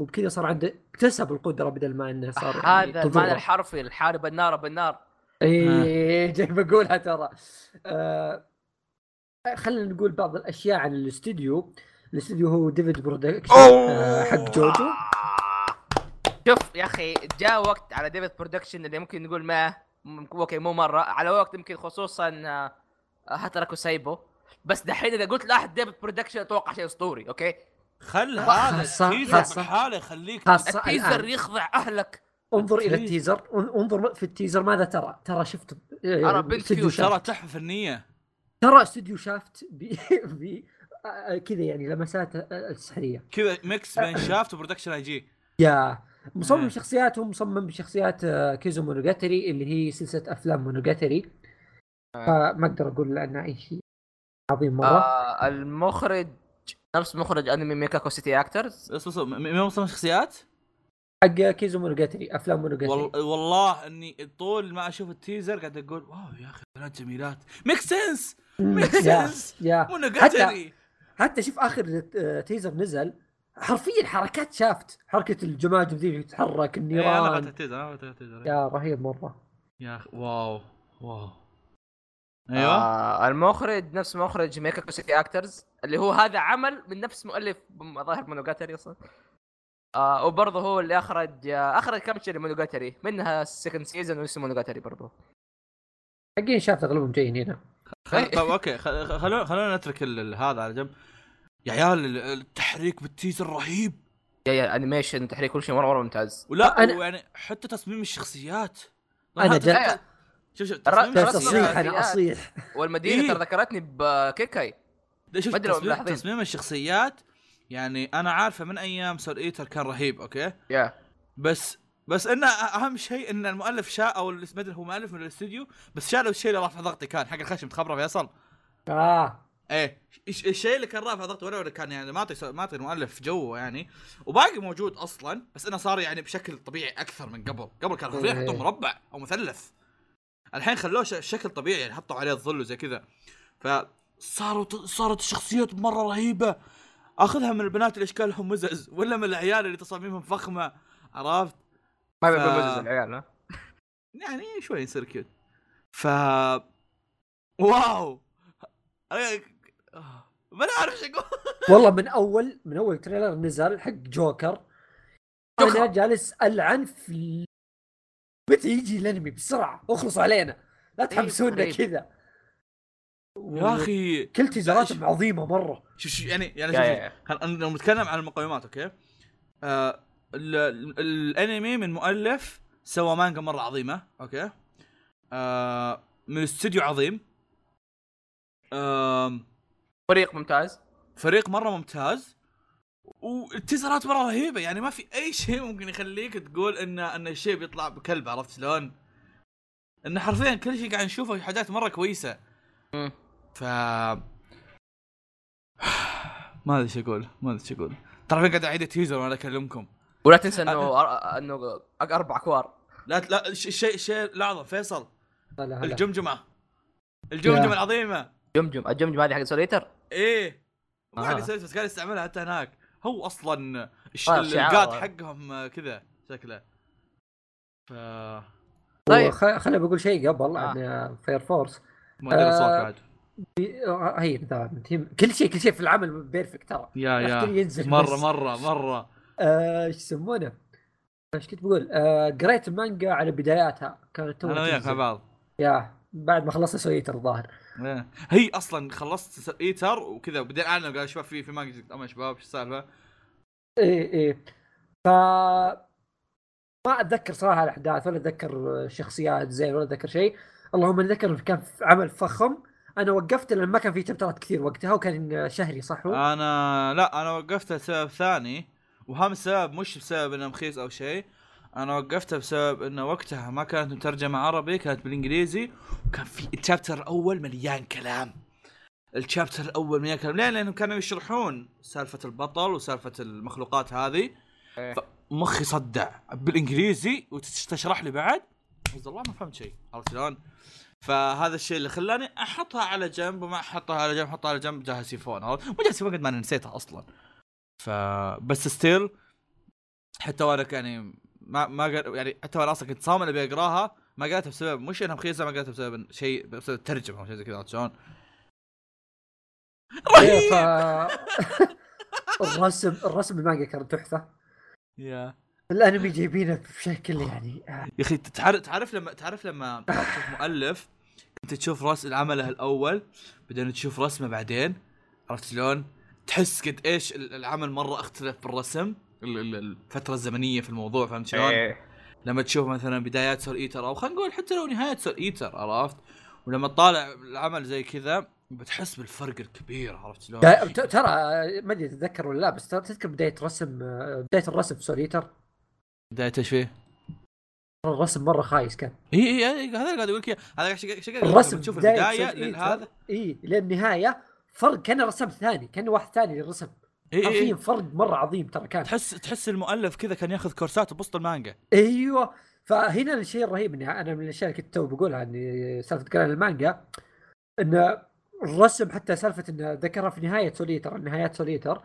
S2: وبكذا صار عنده اكتسب القدره بدل ما انه صار يعني
S1: هذا المعنى
S2: تضره.
S1: الحرفي الحارب النار بالنار
S2: اي إيه، جاي بقولها ترى آه خلينا نقول بعض الاشياء عن الاستديو الاستديو هو ديفيد برودكشن آه حق جوجو
S1: شوف يا اخي جاء وقت على ديفيد برودكشن اللي ممكن نقول ما ممكن- اوكي مو مره على وقت يمكن خصوصا آه، هاتركو سايبو بس دحين اذا قلت لاحد ديفيد برودكشن اتوقع شيء اسطوري اوكي
S4: خل
S2: خاصة-
S4: هذا
S2: خاصة-
S4: التيزر بحاله يخليك
S2: خاصه الآن.
S1: التيزر يخضع اهلك
S2: انظر الى
S4: التيزر.
S2: التيزر ان- انظر في التيزر ماذا ترى ترى شفت آه،
S1: أرى بنت
S2: استوديو
S1: كيوت.
S2: شافت.
S3: ترى تحفه فنيه
S2: ترى استوديو شافت ب- ب- آه، كذا يعني لمسات آه، السحريه
S3: كذا
S2: أه.
S3: ميكس بين شافت وبرودكشن اي جي
S2: يا
S3: مم.
S2: مصمم شخصيات هو مصمم بشخصيات آه، كيزو مونوجاتري اللي هي سلسله افلام مونوجاتري
S3: آه.
S2: فما اقدر اقول عنها اي شيء عظيم مره
S1: آه المخرج نفس مخرج انمي ميكاكو سيتي اكترز
S3: بس بس م- مين مصمم شخصيات؟
S2: حق كيزو مونوجاتري افلام مونوجاتري
S3: وال- والله اني طول ما اشوف التيزر قاعد اقول واو يا اخي بنات جميلات ميك سنس
S2: مم،
S3: ميك
S2: يا
S3: سنس
S2: يا
S3: مونوجاتري
S2: حتى شوف اخر آه، تيزر نزل حرفيا حركات شافت حركه الجماجم ذي اللي تتحرك
S3: إيه، انا
S2: النيران
S3: بغيت التيزر انا بغيت التيزر إيه.
S2: يا رهيب مره
S3: يا اخي واو واو ايوه
S1: آه المخرج نفس مخرج ميكاكو سيتي اكترز اللي هو هذا عمل من نفس مؤلف م- ظاهر مونوجاتري اصلا آه وبرضه هو اللي اخرج آه اخرج كم شيء مونوجاتري منها السكند سيزون ولسه مونوجاتري برضه
S2: حقين شافت اغلبهم جايين هنا
S1: إيه.
S3: خل- طب اوكي خل- خل- خلونا خلونا نترك ال- ال- هذا على جنب يا عيال ال- التحريك بالتيزر رهيب
S1: يا يا انيميشن تحريك كل شيء مره مره ممتاز
S3: ولا
S2: أنا-
S3: يعني حتى تصميم الشخصيات يعني
S2: انا
S3: حتى-
S2: جا-
S3: شوف شوف
S1: الرأ-
S3: تصميم
S1: ترى
S2: جالس
S1: رسم
S2: اصيح
S3: الشخصيات
S2: انا
S1: الشخصيات.
S2: اصيح
S1: والمدينه
S3: إيه.
S1: ترى ذكرتني بكيكاي
S3: ده شوف
S1: ما أدري لو
S3: تصميم,
S1: ملاحظين.
S3: تصميم الشخصيات يعني انا عارفه من ايام سول ايتر كان رهيب اوكي
S1: يا
S3: بس بس انه اهم شيء ان المؤلف شاء او ما ادري هو مؤلف من الاستوديو بس شالوا الشيء اللي رافع ضغطي كان حق الخشم تخبره فيصل
S2: اه
S3: ايه الش- الشيء اللي كان رافع ضغطي ولا كان يعني ما اعطي ما اعطي المؤلف جوه يعني وباقي موجود اصلا بس انه صار يعني بشكل طبيعي اكثر من قبل قبل كان حرفيا
S2: إيه.
S3: يحطوه مربع او مثلث الحين خلوه ش- شكل طبيعي يعني حطوا عليه الظل وزي كذا فصاروا ت- صارت الشخصيات مره رهيبه اخذها من البنات اللي اشكالهم مزز ولا من العيال اللي تصاميمهم فخمه عرفت
S1: ما
S3: ف-
S1: يبي بوزز العيال ها
S3: يعني شوي يصير كيوت ف واو أنا- ما أنا عارف ايش اقول
S2: والله من اول من اول تريلر نزل حق جوكر انا جالس العن في متى يجي الانمي بسرعه اخلص علينا لا
S1: إيه،
S2: تحمسونا
S1: قريب.
S2: كذا
S3: يا اخي
S2: كل تيزراتهم عظيمه مره
S3: شوف شوف يعني يعني
S1: يا-
S3: شوف-
S1: يا-
S3: شوف خل- أنا لو نتكلم عن المقومات اوكي آه ال- ال- الانمي من مؤلف سوى مانجا مره عظيمه اوكي آه من استوديو عظيم آم،
S1: فريق ممتاز
S3: فريق مره ممتاز والتيزرات مره رهيبه يعني ما في اي شيء ممكن يخليك تقول ان ان الشيء بيطلع بكلب عرفت شلون؟ انه حرفيا كل شيء قاعد نشوفه حاجات مره كويسه.
S1: مم.
S3: ف ما ادري ايش اقول ما ادري ايش اقول ترى فين قاعد اعيد التيزر وانا اكلمكم
S1: ولا تنسى
S3: آه.
S1: انه أر- انه اربع كوار
S3: لا لا الش- الشيء الشيء لحظه فيصل
S2: هلا هلا
S3: الجمجمه الجمجمه
S2: يا.
S3: العظيمه
S1: جمجم الجمجم هذه حق سوليتر
S3: ايه ما
S1: آه.
S3: قاعد يسوي بس قاعد يستعملها حتى هناك هو اصلا الش-
S1: آه، شعار.
S3: القاد حقهم آه، كذا شكله ف
S1: طيب.
S2: وخ- خليني بقول شيء قبل
S1: آه.
S2: عن فاير فورس
S3: ما ادري صوت
S2: آه.
S3: بعد
S2: آه، هي تمام تيم- كل شيء كل شيء في العمل بيرفكت ترى
S3: يا
S2: يحتاج
S3: يا
S2: ينزل
S3: مره
S2: بس.
S3: مره مره
S2: آه، ايش يسمونه؟ ايش كنت بقول؟ آه، قريت المانجا على بداياتها كانت تو
S3: انا وياك مع بعض
S2: يا بعد ما خلصت سويت الظاهر
S3: إيه. هي اصلا خلصت س- ايتر وكذا وبعدين اعلن قال يا شباب في في مانجا جديد. اما يا شباب ايش السالفه؟
S2: اي اي إيه، ف ما اتذكر صراحه الاحداث ولا اتذكر شخصيات زين ولا اتذكر شيء اللهم أنا اتذكر إنه كان في عمل فخم انا وقفت لان ما كان
S3: آه.
S2: في تبترات كثير وقتها وكان شهري صح هو؟
S3: انا لا انا وقفت لسبب ثاني وهم السبب مش بسبب انه مخيس او شيء انا وقفتها بسبب انه وقتها ما كانت مترجمه عربي كانت بالانجليزي وكان في الشابتر الاول مليان كلام الشابتر الاول مليان كلام ليه؟ لانهم كانوا يشرحون سالفه البطل وسالفه المخلوقات هذه
S1: إيه.
S3: مخي صدع بالانجليزي وتشرح لي بعد عز الله ما فهمت شيء عرفت شلون؟ فهذا الشيء اللي خلاني احطها على جنب وما احطها على جنب احطها على جنب جهاز سيفون عرفت؟ مو جهاز سيفون قد ما انا نسيتها اصلا فبس ستيل حتى وانا ك- يعني ما ما قر... يعني حتى وانا اصلا كنت صامل ابي اقراها ما قريتها بسبب مش انها مخيسه ما قريتها بسبب إن- شيء بسبب الترجمه او شيء زي كذا عرفت شلون؟
S2: إيه، ف
S3: رهيب
S2: الرسم الرسم بالمانجا كان تحفه
S3: يا
S2: الانمي جايبينه بشكل يعني آه،
S3: يا اخي تعرف تعرف لما تعرف لما تشوف مؤلف كنت تشوف راس عمله الاول بعدين تشوف رسمه بعدين عرفت شلون؟ تحس قد ايش ال- العمل مره اختلف بالرسم ال- ال- الفتره الزمنيه في الموضوع فهمت شلون؟
S1: إيه.
S3: لما تشوف مثلا بدايات سول ايتر او خلينا نقول حتى لو نهايه سول ايتر عرفت؟ ولما تطالع العمل زي كذا بتحس بالفرق الكبير عرفت شلون؟
S2: دا- ت- ترى آه، ما ادري تتذكر ولا لا بس ترى تذكر بدايه رسم آه، بدايه الرسم في سوليتر
S3: بداية ايش فيه؟
S2: ترى الرسم مره خايس كان
S3: اي اي إي، هذا اللي قاعد اقول لك إياه. هذا ايش ايش قاعد أقول لك،
S2: الرسم
S3: لما تشوف
S2: بداية
S3: البدايه
S2: Soul Eater،
S3: لهذا
S2: اي للنهايه فرق كان رسم ثاني كان واحد ثاني يرسم
S3: اي
S2: حرفيا
S3: اي
S2: فرق مره عظيم ترى كان
S3: تحس تحس المؤلف كذا كان ياخذ كورسات بوسط المانجا
S2: ايوه فهنا الشيء الرهيب اني انا من الاشياء اللي كنت تو بقولها اني سالفه كلام المانجا ان الرسم حتى سالفه انه ذكرها في نهايه سوليتر نهايات سوليتر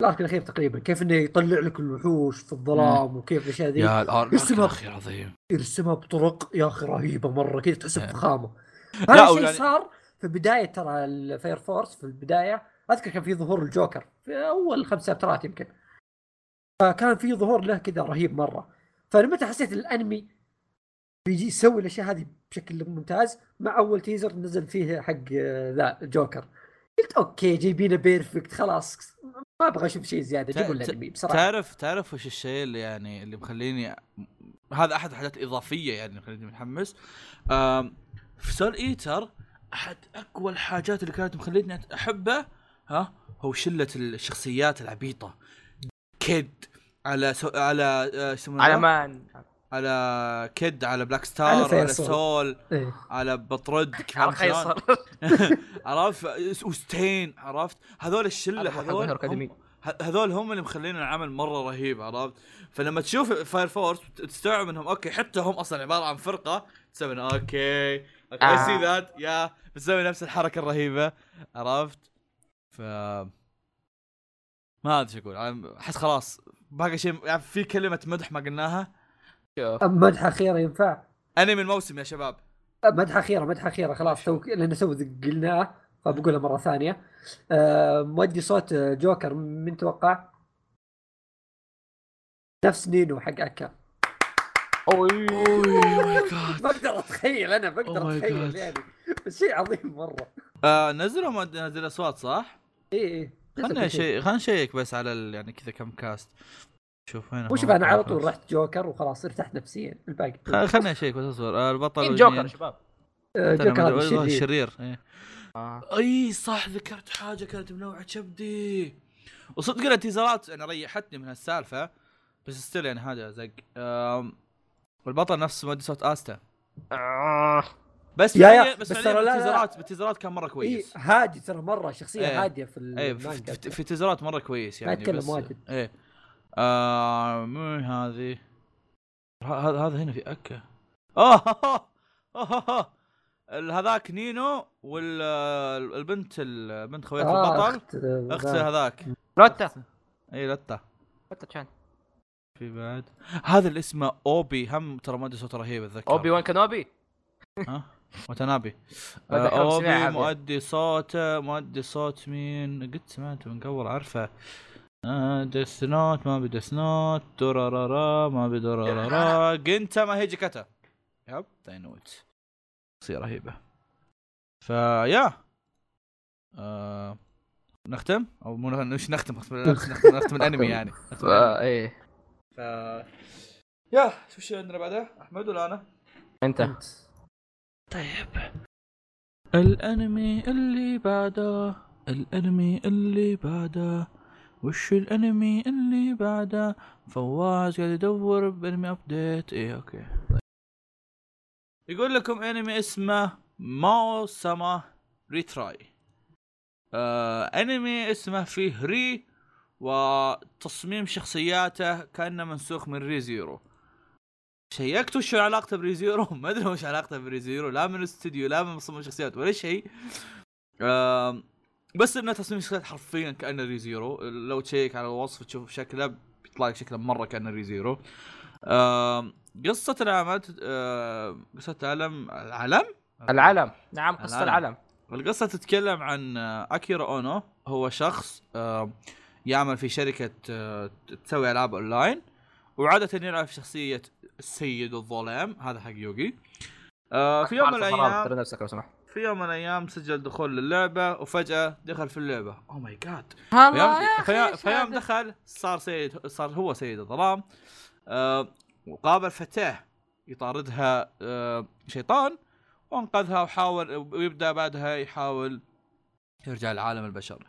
S2: الارك الاخير تقريبا كيف انه يطلع لك الوحوش في الظلام وكيف الاشياء ذي
S3: يا الارك
S2: يرسمها.
S3: اخي عظيم
S2: يرسمها بطرق يا اخي رهيبه مره كذا تحس بفخامه
S3: لا،
S2: هذا الشيء
S3: ويعني-
S2: صار في بدايه ترى الفاير فورس في البدايه اذكر كان في ظهور الجوكر في اول خمس سبترات يمكن فكان في ظهور له كذا رهيب مره فلما حسيت الانمي بيجي يسوي الاشياء هذه بشكل ممتاز مع اول تيزر نزل فيه حق آه، ذا الجوكر قلت اوكي جايبينه بيرفكت خلاص ما ابغى اشوف شيء زياده
S3: تع-
S2: جيبوا
S3: تع-
S2: الانمي بصراحه
S3: تعرف تعرف وش الشيء اللي يعني اللي مخليني هذا احد الحاجات الاضافيه يعني اللي مخليني متحمس آم، في سول ايتر احد اقوى الحاجات اللي كانت مخليتني احبه ها هو شله الشخصيات العبيطه كيد على سو... على آه، يسمونه
S1: على مان
S3: على كيد على بلاك
S2: على
S3: ستار على
S2: فيصل.
S3: سول
S2: إيه.
S3: على بطرد
S1: على
S3: كمان شلون؟
S1: قيصر
S3: عرفت وستين عرفت هذول الشله
S1: هذا هو حق
S3: هذول
S1: Hero Academy.
S3: هم ه- هذول هم اللي مخلين العمل مره رهيب عرفت فلما تشوف فاير فورس ت- تستوعب انهم اوكي حتى هم اصلا عباره عن فرقه تسوي إنه اوكي اوكي
S1: آه.
S3: آه. سي ذات يا بتسوي نفس الحركه الرهيبه عرفت ف ما ادري شو اقول أنا احس خلاص باقي شيء يعني في كلمه مدح ما قلناها
S1: شوف
S2: مدح اخيره ينفع
S3: انمي الموسم يا شباب
S2: مدح اخيره مدح اخيره خلاص تو لان تو ذ- قلناه فبقولها مره ثانيه آه، مودي صوت آه، جوكر من توقع؟ نفس نينو حق اكا
S3: اوه ماي جاد
S2: بقدر اتخيل انا بقدر
S3: Oh my
S2: اتخيل
S3: God.
S2: يعني بس شيء عظيم مره
S3: آه، نزلوا ما- نزل اصوات صح؟
S2: اي اي
S3: خلنا
S2: إيه.
S3: شيء خلنا نشيك بس على ال... يعني كذا كم كاست شوف هنا
S2: وشوف انا على طول رحت جوكر وخلاص ارتحت نفسيا الباقي
S3: خلنا نشيك بس اصبر آه، البطل
S1: مين
S3: والجنين.
S1: جوكر شباب
S2: آه،
S3: استنى،
S2: جوكر
S3: ما أدري،
S2: إيه، هذا
S3: والله
S2: الشرير.
S3: الشرير إيه. اي صح ذكرت حاجه كانت منوعه كبدي وصدق إن التيزرات يعني ريحتني من هالسالفه بس ستيل يعني حاجه زق آم، والبطل نفس مودي صوت استا
S1: آه.
S3: بس
S2: يا- يا،
S3: فعليا
S2: بس
S3: بس, فعليا
S2: ترى لا- إيه، لا.
S3: بالتيزرات بالتيزرات كان مره
S2: اي
S3: كويس
S2: هادي ترى مره
S3: إيه.
S2: شخصيه هاديه في
S3: اي في,
S2: المانجا
S3: في, في تيزرات مره كويس يعني
S2: أتكلم
S3: بس-
S2: واجد.
S3: اي آه من هذه هذا هذا هنا في اكا اوه أوه، أوه، أوه. ال- هذاك نينو والبنت البنت خوية
S2: آه،
S3: البطل
S2: أخت- آه،
S3: اخت هذاك إيه،
S1: لوتا
S3: اي لتا
S1: لوتا تشان
S3: في بعد هذا اللي اسمه اوبي هم ترى ما ادري صوته رهيب اتذكر
S1: اوبي وان كانوبي
S3: ها وتنابي
S1: ما أدري،
S3: آه،
S1: حاول أسمعها
S3: اوبي
S1: عادي.
S3: مؤدي صوت مؤدي صوت مين قد سمعته من قبل عارفه ديث نوت ما بديث نوت دورارارا ما بدورارارا جنتا ما هيجي كتا يب داينوت شخصية رهيبة فيا آه نختم او مو نختم- مش نختم نختم نختم الانمي يعني نختم الأنمي.
S1: آه، ايه
S3: ف يا شو شي عندنا بعدها احمد ولا انا؟
S1: انت
S2: أنت.
S3: طيب الانمي اللي بعده الانمي اللي بعده وش الانمي اللي بعده فواز قاعد يدور بانمي ابديت ايه اوكي طيب. يقول لكم انمي اسمه ماو سما ريتراي آه انمي اسمه فيه ري وتصميم شخصياته كانه منسوخ من ري زيرو شيكت وش علاقته بريزيرو ما ادري وش علاقته بريزيرو لا من الاستوديو لا من مصمم شخصيات ولا شيء آم، بس انه تصميم شخصيات حرفيا كانه ريزيرو لو تشيك على الوصف تشوف شكله بيطلع لك شكله مره كانه ريزيرو آم، قصة العمل آم، قصة العلم العلم؟
S1: العلم نعم قصه
S3: العلم.
S1: العلم
S3: القصة تتكلم عن آه، أكيرا أونو هو شخص آه، يعمل في شركة آه، تسوي ألعاب أونلاين وعادة يلعب في شخصية السيد الظلام هذا حق يوغي آه، في يوم من
S1: معرفة حرام،
S3: الأيام
S1: ترى نفسك لو سمحت
S3: في يوم من الأيام سجل دخول للعبة وفجأة دخل في اللعبة Oh أوه ماي جاد
S1: الله آه، يا
S3: فيوم,
S1: أخي،
S3: فيوم
S1: شهادة.
S3: دخل صار سيد صار هو سيد الظلام آه، وقابل فتاه يطاردها آه، شيطان وانقذها وحاول ويبدا بعدها يحاول يرجع لعالم البشر.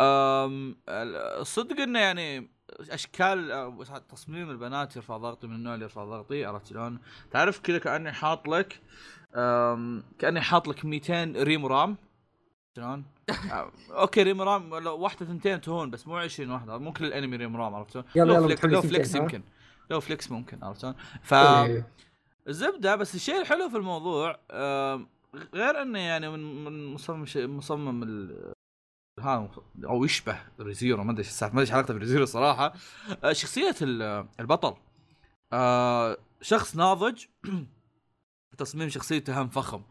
S3: آم، ال- صدق انه يعني اشكال آه، تصميم البنات يرفع ضغطي من النوع اللي يرفع ضغطي عرفت شلون؟ تعرف كذا كاني حاط لك آم، كاني حاط لك 200 ريم رام شلون؟ آه، اوكي ريم رام لو واحده ثنتين تهون بس مو 20 واحده مو كل الانمي ريم رام عرفت شلون؟
S2: يلا، يلا،
S3: لو فليكس,
S2: متحمسين
S3: لو فليكس
S2: شوي، ها؟
S3: يمكن لو فليكس ممكن عرفت شلون؟ ف
S2: إيه.
S3: الزبده بس الشيء الحلو في الموضوع آم، غير انه يعني من من مصمم شيء مصمم ال ها او يشبه ريزيرو ما ادري ايش السالفة، ما ادري ايش علاقته بريزيرو صراحه آه، شخصيه ال- البطل آه، شخص ناضج تصميم شخصيته هم فخم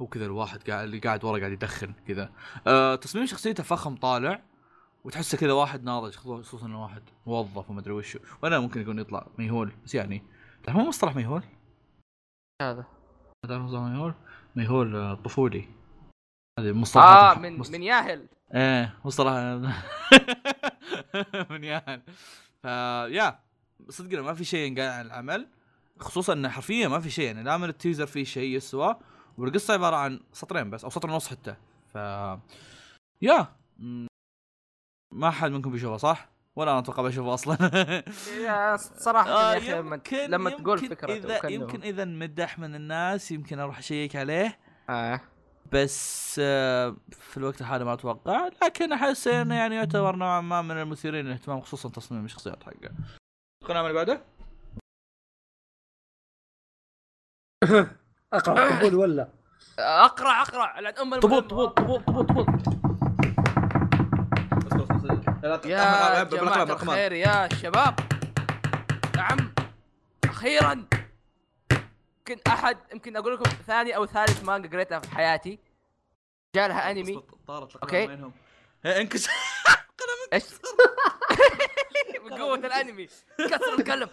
S3: هو كذا الواحد قاعد اللي قاعد ورا قاعد يدخن كذا آه، تصميم شخصيته فخم طالع وتحسه كذا واحد ناضج خصوصا انه واحد موظف وما ادري وشو وانا ممكن يكون يطلع ميهول بس يعني لا مو مصطلح ميهول
S1: هذا
S3: تعرف مصطلح ميهول؟ ميهول آه، طفولي هذه مصطلح
S1: اه من من ياهل
S3: ايه مصطلح من ياهل فا يا صدقنا ما في شيء ينقال عن العمل خصوصا انه حرفيا ما في شيء يعني لا من التيزر فيه شيء يسوى والقصه عباره عن سطرين بس او سطر ونص حتى ف يا م- ما حد منكم بيشوفه صح؟ ولا انا اتوقع بشوفه اصلا
S1: يا صراحه
S3: آه،
S1: يا اخي لما لما تقول فكرته
S3: اذا
S1: وكأنه-
S3: يمكن اذا نمدح من الناس يمكن اروح اشيك عليه
S1: آه.
S3: بس آه، في الوقت الحالي ما اتوقع لكن احس انه يعني يعتبر نوعا ما من المثيرين للاهتمام خصوصا تصميم الشخصيات حقه. القناه اللي بعده؟
S2: اقرا قبول ولا
S1: اقرع اقرع لعن ام
S3: طبوط طبوط طبوط طبوط طبوط بس بس بس
S1: يا جماعه الخير يا شباب نعم اخيرا يمكن احد يمكن اقول لكم ثاني او ثالث مانجا قريتها في حياتي جالها انمي
S3: طارت
S1: أوكي.
S3: القناه بينهم إيه، انكسر
S1: ايش من قوه الانمي كسر القلم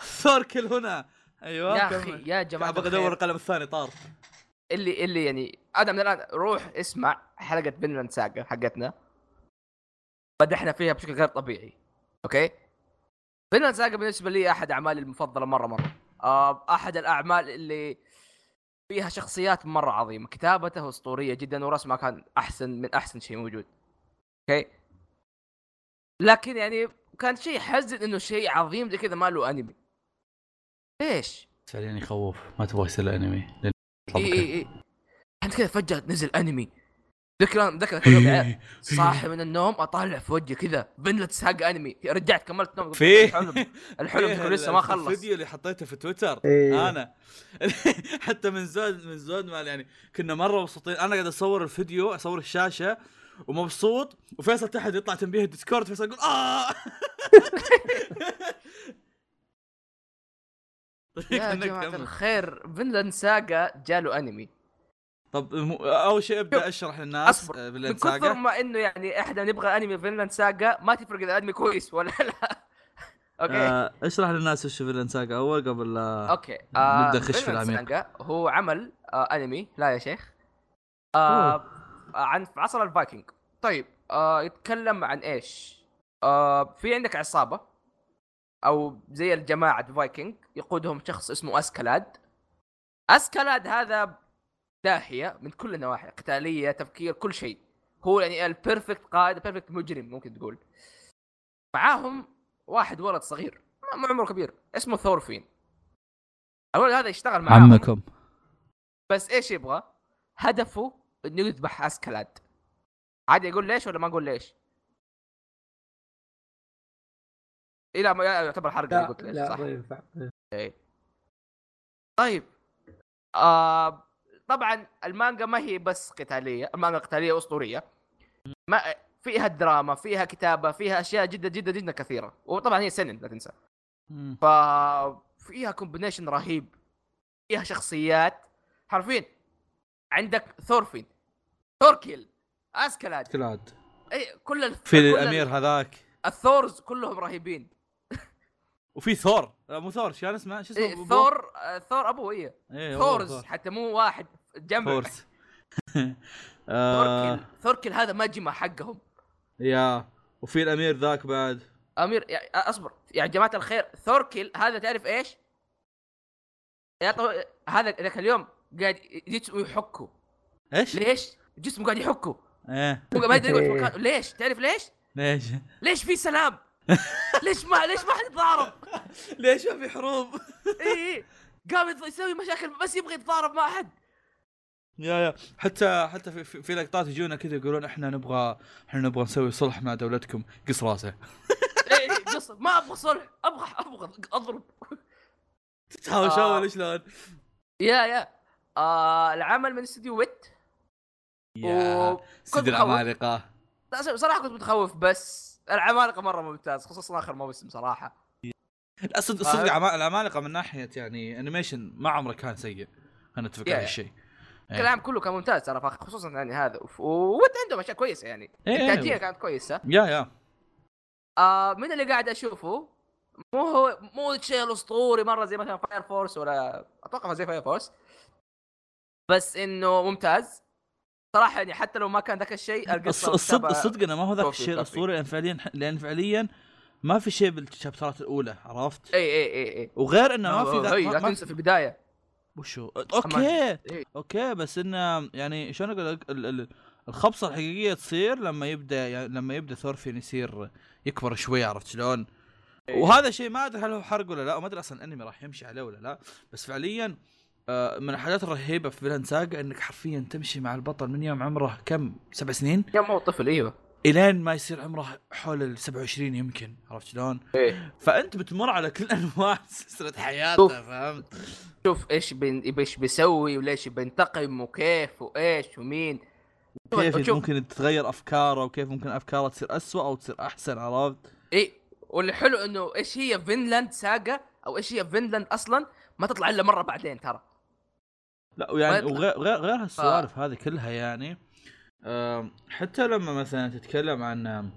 S3: ثوركل هنا ايوه
S1: يا
S3: كمل.
S1: اخي يا جماعه
S3: ابغى
S1: الخير.
S3: ادور القلم الثاني طار
S1: اللي اللي يعني انا من الان روح اسمع حلقه فينلاند ساجا حقتنا مدحنا فيها بشكل غير طبيعي اوكي فينلاند ساجا بالنسبه لي احد اعمالي المفضله مره مره آه، احد الاعمال اللي فيها شخصيات مره عظيمه كتابته اسطوريه جدا ورسمها كان احسن من احسن شيء موجود اوكي لكن يعني كان شيء حزن انه شيء عظيم زي كذا ما له انمي ليش؟
S3: فعليا يخوف ما تبغى يصير انمي
S1: اي اي اي انت إيه، كذا فجاه نزل انمي ذكر ذكر ذاك اليوم يا عيال، صاحي من النوم اطالع في وجهي كذا بنلت حق انمي رجعت كملت نوم قلت
S3: فيه.
S1: الحلم الحلم
S3: فيها
S1: يكون لسه ما خلص
S3: إيه الفيديو اللي حطيته في تويتر
S2: إيه.
S3: انا حتى من زود من زود ما يعني كنا مره مبسوطين انا قاعد اصور الفيديو اصور الشاشه ومبسوط وفيصل تحت يطلع تنبيه الديسكورد فيصل يقول اه
S1: يا
S3: كأنك
S1: جماعه
S3: كمل.
S1: الخير فينلاند ساجا جاله انمي
S3: طب مو- اول شيء ابدا اشرح للناس
S1: أصبر.
S3: آه،
S1: من
S3: بالليل
S1: كثر
S3: ساقة.
S1: ما انه يعني احنا نبغى انمي فينلاند ساجا ما تفرق اذا انمي كويس ولا لا اوكي
S3: آه، اشرح للناس وش فيلن ساقا اول قبل لا
S1: اوكي
S3: نبدأ نخش في
S1: فينلاند
S3: العميق.
S1: ساجا هو عمل آه انمي لا يا شيخ آه عن في عصر الفايكنج طيب آه يتكلم عن ايش؟ آه في عندك عصابه او زي الجماعه الفايكنج يقودهم شخص اسمه اسكلاد اسكلاد هذا داهيه من كل النواحي قتاليه تفكير كل شيء هو يعني البيرفكت قائد بيرفكت مجرم ممكن تقول معاهم واحد ولد صغير ما- ما عمره كبير اسمه ثورفين الولد هذا يشتغل معاهم
S4: عمكم
S1: بس ايش يبغى؟ هدفه انه يذبح اسكلاد عادي يقول ليش ولا ما اقول ليش؟ إيه لا ما يعتبر حرق اللي
S2: لا
S1: قلت ليش
S2: لا طيب.
S1: صح
S2: ما ينفع
S1: إيه. طيب آه طبعا المانجا ما هي بس قتاليه المانجا قتاليه اسطوريه ما فيها دراما فيها كتابه فيها اشياء جدا جدا جدا كثيره وطبعا هي سنن لا تنسى
S4: مم.
S1: ف فيها كومبينيشن رهيب فيها شخصيات حرفيا عندك ثورفين ثوركيل اسكلاد
S3: كلاد
S1: اي إيه، كل الف...
S3: في
S1: كل
S3: الامير
S1: ال-
S3: هذاك
S1: الثورز كلهم رهيبين
S3: وفي ثور لا مو ثور شو يعني اسمه شو اسمه
S1: إيه
S3: بو-
S1: ثور آه، ثور ابوه ايه
S3: إيه، هو
S1: ثورز
S3: ثور.
S1: حتى مو واحد جمع
S3: ثورز آه،
S1: ثوركيل ثوركيل هذا مجمع حقهم
S3: يا وفي الامير ذاك بعد
S1: امير يعني اصبر يا جماعه الخير ثوركيل هذا تعرف ايش؟ يا طو... هذا ذاك اليوم قاعد جسمه يحكه
S3: ايش؟
S1: ليش؟ جسمه قاعد يحكه
S3: ايه
S1: هو ما يدري وقت مكانه. ليش؟ تعرف ليش؟
S3: ليش؟
S1: ليش في سلام؟ ليش ما ليش ما حد يتضارب؟
S3: ليش ما في حروب؟
S1: اي اي قام يض- يسوي مشاكل بس يبغى يتضارب مع احد
S3: يا يا حتى حتى في, في, في لقطات يجونا كذا يقولون احنا نبغى احنا نبغى نسوي صلح مع دولتكم قص راسه
S1: إي إي، قصة ما ابغى صلح ابغى ابغى اضرب
S3: تحاول
S1: آه.
S3: شاول شلون؟
S1: يا يا آه العمل من استديو ويت
S3: يا
S1: و- كنت
S3: سيد العمالقه
S1: متخوف. صراحه كنت متخوف بس العمالقه مره ممتاز خصوصا اخر موسم صراحه
S3: لا صدق
S1: آه.
S3: صدق عما- العمالقه من ناحيه يعني انيميشن ما عمره كان سيء انا اتفق
S1: يا-
S3: على
S1: يا.
S3: هالشيء إيه.
S1: الكلام كله كان ممتاز ترى فخ- خصوصا يعني هذا وف- وويت عندهم اشياء كويسه يعني
S3: إيه، إيه.
S1: التأجية كانت كويسه
S3: يا يا
S1: آه من اللي قاعد اشوفه مو هو مو الشيء الاسطوري مره زي مثلا فاير فورس ولا اتوقع ما زي فاير فورس بس انه ممتاز صراحه يعني حتى لو ما كان ذاك الشيء
S3: الص-
S1: القصه
S3: الصدق
S1: والكتابة-
S3: الصدق انه ما هو ذاك
S1: توفي-
S3: الشيء
S1: توفي.
S3: الاسطوري لان فعليا لان فعليا ما في شيء بالشابترات الاولى عرفت؟
S1: اي اي اي اي
S3: وغير انه ما في
S1: ذاك
S3: ذاك
S1: لا
S3: ما- ما في
S1: تنسى في البدايه
S3: وشو اوكي
S1: إيه.
S3: اوكي بس انه يعني شلون اقول لك ال- ال- الخبصه الحقيقيه تصير لما يبدا يعني لما يبدا ثورفين يصير يكبر شوي عرفت شلون؟ وهذا شيء ما ادري هل هو حرق ولا لا وما ادري اصلا الانمي راح يمشي عليه ولا لا بس فعليا آه، من الحاجات الرهيبه في فيلن ساجا انك حرفيا تمشي مع البطل من يوم عمره كم سبع سنين
S1: يوم هو طفل ايوه
S3: الين ما يصير عمره حول ال 27 يمكن عرفت شلون؟
S1: إيه.
S3: فانت بتمر على كل انواع سلسله حياته
S1: شوف.
S3: فهمت؟
S1: شوف ايش بين ايش بيسوي وليش بينتقم وكيف وايش ومين
S3: كيف
S1: شوف-
S3: ممكن تتغير افكاره وكيف ممكن افكاره تصير أسوأ او تصير احسن عرفت؟
S1: اي والحلو انه ايش هي فينلاند ساجا او ايش هي فينلاند اصلا ما تطلع الا مره بعدين ترى
S3: لا
S1: ما
S3: ويعني
S1: يطلع.
S3: وغير غير, غير هالسوالف هذه كلها يعني آم، حتى لما مثلا تتكلم عن آم،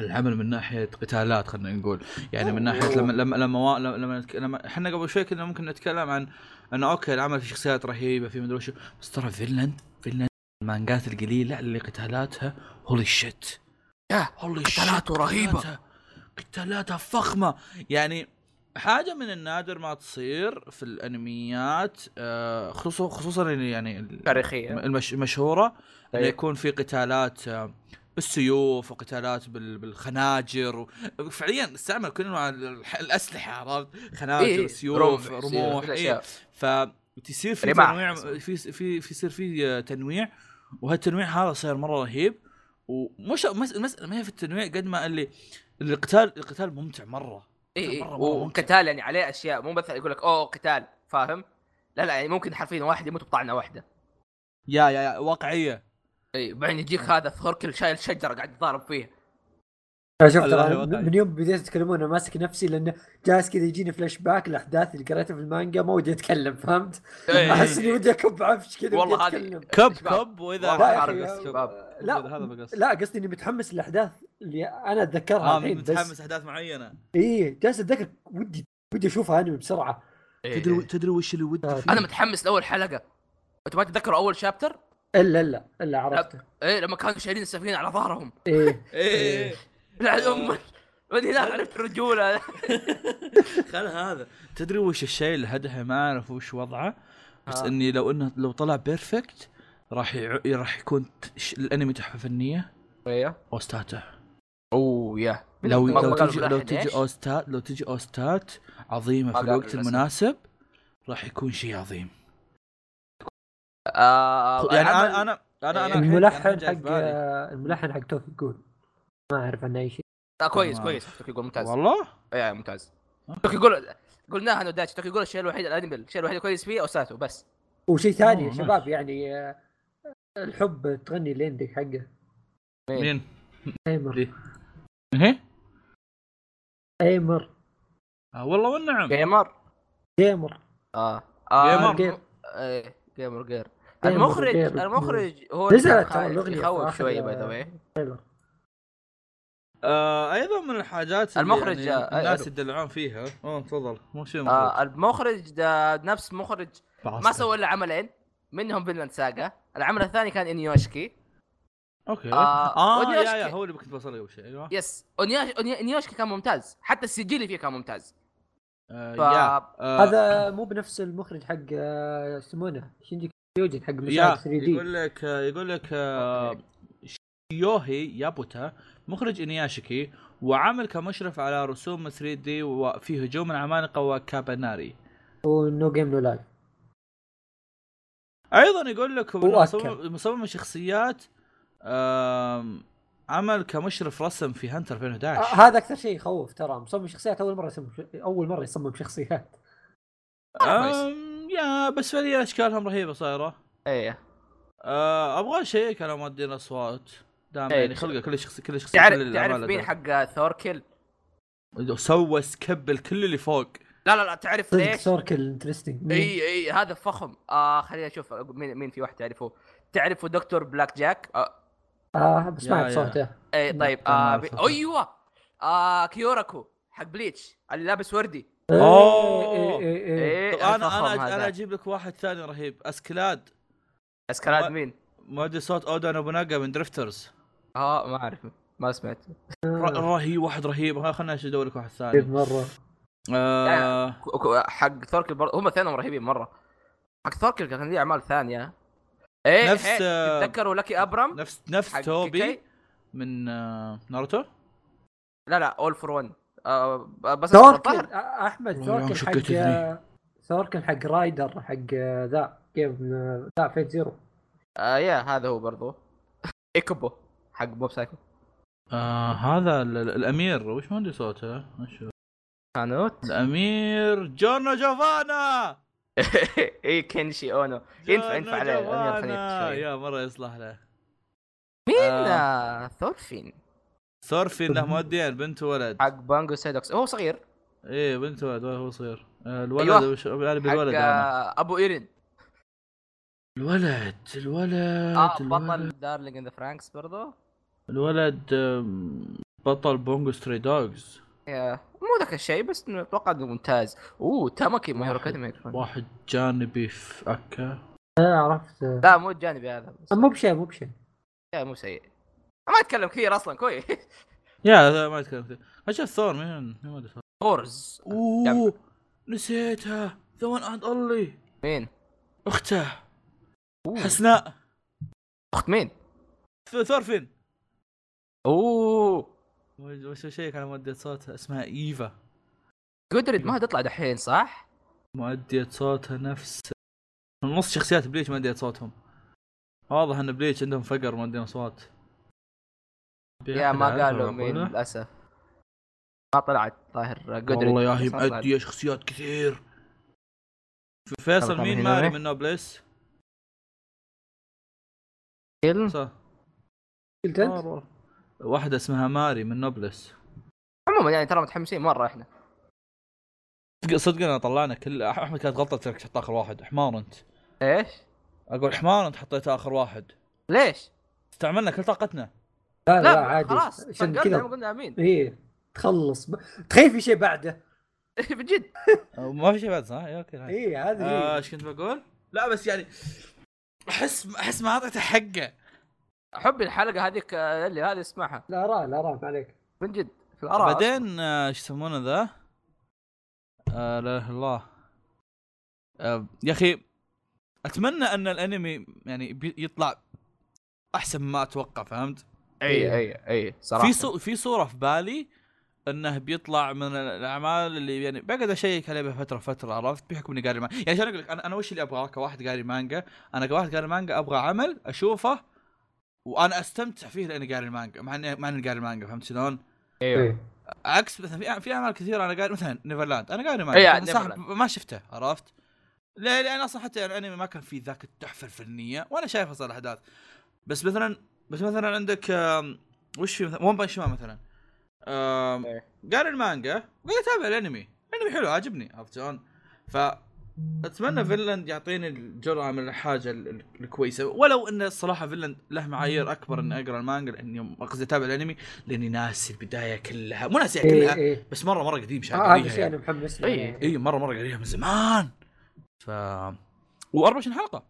S3: العمل من ناحيه قتالات خلينا نقول يعني من ناحيه لما لما لما وا- لما- لما نتك- لما احنا قبل شوي كنا ممكن نتكلم عن انه اوكي العمل في شخصيات رهيبه في مدري شو بس ترى فينلاند فينلاند المانجات القليله اللي قتالاتها هولي شيت
S1: ياه
S3: والله
S1: قتالاته رهيبة.
S3: قتالاتها فخمه يعني حاجه من النادر ما تصير في الانميات آه، خصوصا خصوصا ال- يعني ال-
S1: تاريخيه
S3: المش- المشهوره انه
S1: طيب.
S3: يكون في قتالات آه، بالسيوف وقتالات بال- بالخناجر و- فعليا استعمل كل انواع ال- الح- الاسلحه عرفت خناجر
S1: إيه،
S3: سيوف
S1: رمح،
S3: رموح
S1: كل
S3: إيه.
S1: الأشياء.
S3: فتصير في
S1: رماح.
S3: تنويع في في في يصير في تنويع وهالتنويع هذا صار مره رهيب ومش مس- المساله ما هي في التنويع قد ما اللي القتال القتال ممتع مره
S1: اي اي
S3: مرة- مرة ممتع.
S1: وقتال يعني عليه اشياء مو مثلا يقول لك اوه قتال فاهم؟ لا لا يعني ممكن حرفيا واحد يموت بطعنه واحده
S3: يا يا, يا واقعيه
S1: اي إيه، بعدين يجيك هذا ثوركل شايل شجره قاعد يتضارب فيها
S2: انا آه، شفت
S3: والله
S2: ترى
S3: واقعي.
S2: من يوم بديت تتكلمون انا ماسك نفسي لانه جالس كذا يجيني فلاش باك الاحداث اللي قريتها في المانجا ما ودي اتكلم فهمت؟
S3: إيه.
S1: إي.
S2: احس اني ودي اكب عفش كذا
S1: والله
S2: ودي
S1: هذه-
S2: أتكلم.
S3: كب
S1: شباب.
S3: كب واذا
S1: والله
S2: لا يا
S1: حرق
S2: أخي،
S1: الشباب.
S2: آه، لا
S3: هذا بقصد
S2: لا قصدي اني متحمس الاحداث اللي انا اتذكرها
S3: اه
S2: الحين
S3: متحمس
S2: بس
S3: احداث معينه
S2: اي جالس اتذكر ودي ودي اشوفها انمي بسرعه
S3: تدري تدري وش اللي ودي
S2: آه.
S3: فيه؟
S1: انا متحمس لاول حلقه انتوا ما تتذكروا اول شابتر؟
S2: الا الا الا عرفته
S1: ايه لما كانوا شايلين السفينه على ظهرهم
S2: ايه
S3: ايه
S1: لعن امك من هناك عرفت الرجوله
S3: خل هذا تدري وش الشيء اللي هدها ما اعرف وش وضعه بس
S1: آه.
S3: اني لو انه لو طلع بيرفكت راح يع... راح يكون ت- ش- الانمي تحفه فنيه
S1: ايوه
S3: اوستاته
S1: اوه يا
S3: لو
S1: مقال
S3: لو تجي
S1: الواحد
S3: لو تجي
S1: إيش؟
S3: اوستات لو تجي اوستات عظيمه في
S1: مقال
S3: الوقت
S1: الرسم.
S3: المناسب راح يكون شيء عظيم
S1: آه
S3: يعني
S1: عمل-
S3: انا انا
S1: إيه.
S3: انا انا
S2: الملحن
S3: أنا جاي في
S2: حق آه،
S3: بالي.
S2: الملحن حق توفيق يقول ما اعرف عنه اي شيء
S1: آه كويس
S3: تمام.
S1: كويس توكي يقول ممتاز
S3: والله
S1: اي إيه، آه، ممتاز
S3: أوكي.
S1: توكي يقول قلناها انا وداتش توكي يقول الشيء الوحيد الانمي الشيء الوحيد الكويس فيه اوساتو بس
S2: وشيء ثاني يا
S3: آه،
S2: شباب يعني آه، الحب تغني الاندنج حقه
S3: مين؟
S2: ايمر
S3: ليه؟ إيه؟
S2: ايمر
S3: آه والله والنعم
S1: جيمر
S2: جيمر آه،
S1: اه
S3: جيمر.
S2: جيمر.
S1: ايه جيمر جير
S2: جيمر
S1: المخرج
S2: جير.
S1: المخرج هو
S2: نزلت
S1: اللي
S2: ترى الأغنية في
S1: يخوف
S2: آخر-
S1: شوي باي ذا واي
S2: تايلر.
S3: آه ايضا من الحاجات اللي
S1: المخرج،
S3: يعني
S1: آه،
S3: الناس
S1: أيوه.
S3: يدلعون فيها اوه تفضل مو شيء
S1: آه المخرج ده نفس مخرج ما سوى الا عملين منهم فينلاند ساجا العمل الثاني كان انيوشكي
S3: اوكي
S1: آه،
S3: اه,
S1: ودي
S3: يا
S1: أشكي.
S3: يا هو اللي كنت بوصل له قبل شوي ايوه
S1: يس أنياش... أني- انيوشكي كان ممتاز حتى السجل اللي فيه كان ممتاز
S3: آه،
S1: ف...
S3: يا. آه،
S2: هذا مو بنفس المخرج حق آه، يسمونه شينجي كيوجن حق
S3: يا
S2: مشاهد 3 دي
S3: يقول لك يقول لك آه، يوهي يابوتا مخرج انياشكي وعمل كمشرف على رسوم 3 دي وفي هجوم العمالقه وكاباناري
S2: ونو جيم نو لايف آه،
S3: ايضا يقول لك إنه
S2: وأكل.
S3: مصمم مصمم الشخصيات آم، عمل كمشرف رسم في هانتر 2011
S2: هذا اكثر شيء يخوف ترى مصمم شخصيات اول مره يصمم اول مره يصمم شخصيات
S1: كويس.
S3: آم، يا بس فعليا اشكالهم رهيبه صايره
S1: ايه
S3: آه، ابغى اشيك على مؤدين اصوات دام
S1: إيه.
S3: يعني خلقه كل شخص كل شخص
S1: تعرف تعرف مين حق ثوركل
S3: سوى سكب الكل اللي فوق
S1: لا لا لا تعرف
S2: صدق
S1: ليش
S2: سوركل انترستنج
S1: اي اي إيه، هذا فخم آه خليني اشوف مين مين في واحد تعرفه تعرفوا دكتور بلاك جاك آه
S2: اه بس ما
S3: يا-
S2: اعرف
S3: يا.
S2: صوته
S1: اي طيب
S3: ما
S1: آه
S3: أعرف
S1: بي...
S3: أصلاً.
S1: ايوه آه كيوراكو حق بليتش اللي لابس وردي
S3: أوه.
S2: إيه، إيه، إيه، إيه.
S1: ايه
S3: طب انا
S1: الفخم
S3: انا
S1: هذا.
S3: انا اجيب لك واحد ثاني رهيب اسكلاد
S1: اسكراد
S3: ما-
S1: مين؟
S3: مؤدي صوت اودا نوبوناغا من درفترز
S1: اه ما اعرف ما سمعت
S3: ر- رهيب واحد رهيب ها، خلنا ادور لك واحد
S2: رهيب
S3: ثاني
S2: مره
S3: آه
S1: كو- كو- حق ثوركل برضه هم اثنينهم رهيبين مره حق ثوركل كان ليه اعمال ثانيه ايه
S3: نفس،
S1: نفس
S3: آه،
S1: تتذكروا لكي ابرم
S3: نفس نفس
S1: حق
S3: توبي
S1: كيكي؟
S3: من آه ناروتو
S1: لا لا اول فور 1 بس
S2: سوركل
S1: الظهر.
S2: آه، احمد
S3: والله يوم
S2: سوركل
S3: شكيت
S2: حق آه، سوركل حق رايدر حق آه، ذا جيم آه، ذا فيت زيرو
S1: آه يا هذا هو برضه ايكوبو حق بوب سايكو
S3: آه هذا ال- ال- الامير وش مؤدي صوته؟ وش هو؟
S1: كانوت
S3: الامير جورنو جوفانا
S1: اي إيه، كينشي اونو ينفع- ينفع عليه،
S3: جورنو
S1: الأمير خليط
S3: جوفانا.
S1: شوي.
S3: يا مره يصلح له
S1: مين
S3: آه.
S1: آه. ثورفين
S3: ثورفين له مؤدين يعني بنت ولد
S1: حق بانجو سيدوكس هو صغير
S3: ايه بنت ولد هو صغير آه، الولد
S1: أيوه.
S3: وش انا
S1: حق
S3: بالولد انا
S1: آه، ابو ايرين
S3: الولد الولد
S1: اه
S3: آه، طيب، الولد,
S1: بطل دارلينج ان ذا فرانكس برضه
S3: الولد آم، بطل بونجو ستري دوجز
S1: يا، مو ذاك الشيء بس إنه اتوقع انه ممتاز اوه تاماكي ما هيرو اكاديمي
S3: واحد جانبي في اكا
S2: آه، عرفت آه،
S1: لا مو الجانبي هذا بس
S2: مو بشيء مو بشيء
S1: يا مو سيء ما اتكلم كثير اصلا كويس
S3: يا هذا ما اتكلم كثير اشوف ثور مين مين ما أدري ثور
S1: غورز
S3: اوه نسيتها ذا وان اند اونلي
S1: مين؟
S3: اخته
S1: أوه.
S3: حسناء
S1: اخت مين؟
S3: ث- ثور فين؟
S1: اوه
S3: وش وش شيك على مؤدية صوتها اسمها ايفا
S1: جودريد ما تطلع دحين صح؟
S3: مؤدية صوتها نفس نص شخصيات بليتش مؤدية صوتهم واضح ان بليتش عندهم فقر مؤدين اصوات
S1: يا
S3: أحد
S1: ما قالوا
S3: عارف
S1: مين
S3: معقولة؟
S1: للاسف ما طلعت ظاهر جودريد
S3: والله يا هي
S1: بس ما طلعت.
S3: مؤدية شخصيات كثير في فيصل
S1: طبعاً
S3: مين
S1: هنا
S3: ماري
S1: إيه؟
S3: من نوبليس صح آه،
S2: قلت
S1: آه،
S2: انت؟
S3: واحدة اسمها ماري من نوبلس
S1: عموما يعني ترى متحمسين مره احنا
S3: صدق- صدقنا طلعنا كل احمد كانت غلطتك تحط اخر واحد حمار انت
S1: ايش؟
S3: اقول حمار انت حطيتها اخر واحد
S1: ليش؟
S3: استعملنا كل طاقتنا
S2: لا لا
S1: لا
S2: عادي
S1: خلاص
S2: عشان
S1: فنقلنا
S2: كذا
S1: قلنا امين
S2: ايه تخلص تخيل في شيء بعده
S1: بجد
S3: ما في شيء بعد صح؟ إيه، اوكي هاي.
S2: ايه هذه
S3: آه،
S2: هي.
S3: ايش كنت بقول؟ لا بس يعني احس احس ما اعطيته حقه
S1: حبي الحلقه هذيك آه، اللي هذه اسمعها
S2: لا لا لا رام عليك
S1: من جد في الاراء
S3: بعدين آه، ايش يسمونه ذا؟ آه، لا اله الا الله آه، يا اخي اتمنى ان الانمي يعني بي- يطلع احسن ما اتوقع فهمت؟
S1: اي اي اي صراحه
S3: في صو... في صوره في بالي انه بيطلع من الاعمال اللي يعني بقعد اشيك عليه فتره فتره عرفت بحكم اني قاري مانجا يعني عشان اقول لك انا انا وش اللي ابغاه كواحد قاري مانجا انا كواحد قاري مانجا ابغى عمل اشوفه وانا استمتع فيه لاني قاري المانجا مع اني مع اني قاري المانجا فهمت شلون؟
S1: ايوه
S2: إيه.
S3: عكس مثلا في, في اعمال كثيره انا قاري مثلا نيفرلاند انا قاري
S1: إيه،
S3: مانجا بس صح
S1: نيفرلاند.
S3: ما شفته عرفت؟ ليه؟ لان اصلا حتى الانمي ما كان فيه ذاك التحفه الفنيه وانا شايف اصلا الاحداث بس مثلا بس مثلا عندك آم، وش في مثلا ون بانش مان مثلا آم،
S1: إيه.
S3: قاري المانجا وقاعد اتابع الانمي الانمي حلو عاجبني عرفت شلون؟ ف اتمنى فينلاند يعطيني الجرعه من الحاجه ال- ال- الكويسه ولو ان الصراحه فينلاند له معايير اكبر اني اقرا المانجا لاني قصدي اتابع الانمي لاني ناسي البدايه كلها مو ناسيها
S2: إيه،
S3: كلها
S2: إيه.
S3: بس مره مره قديم
S2: آه، هذا
S3: شايف
S2: الشيء انا محمس له
S1: إيه.
S2: يعني.
S3: اي مره مره قاريها من زمان ف و24 حلقه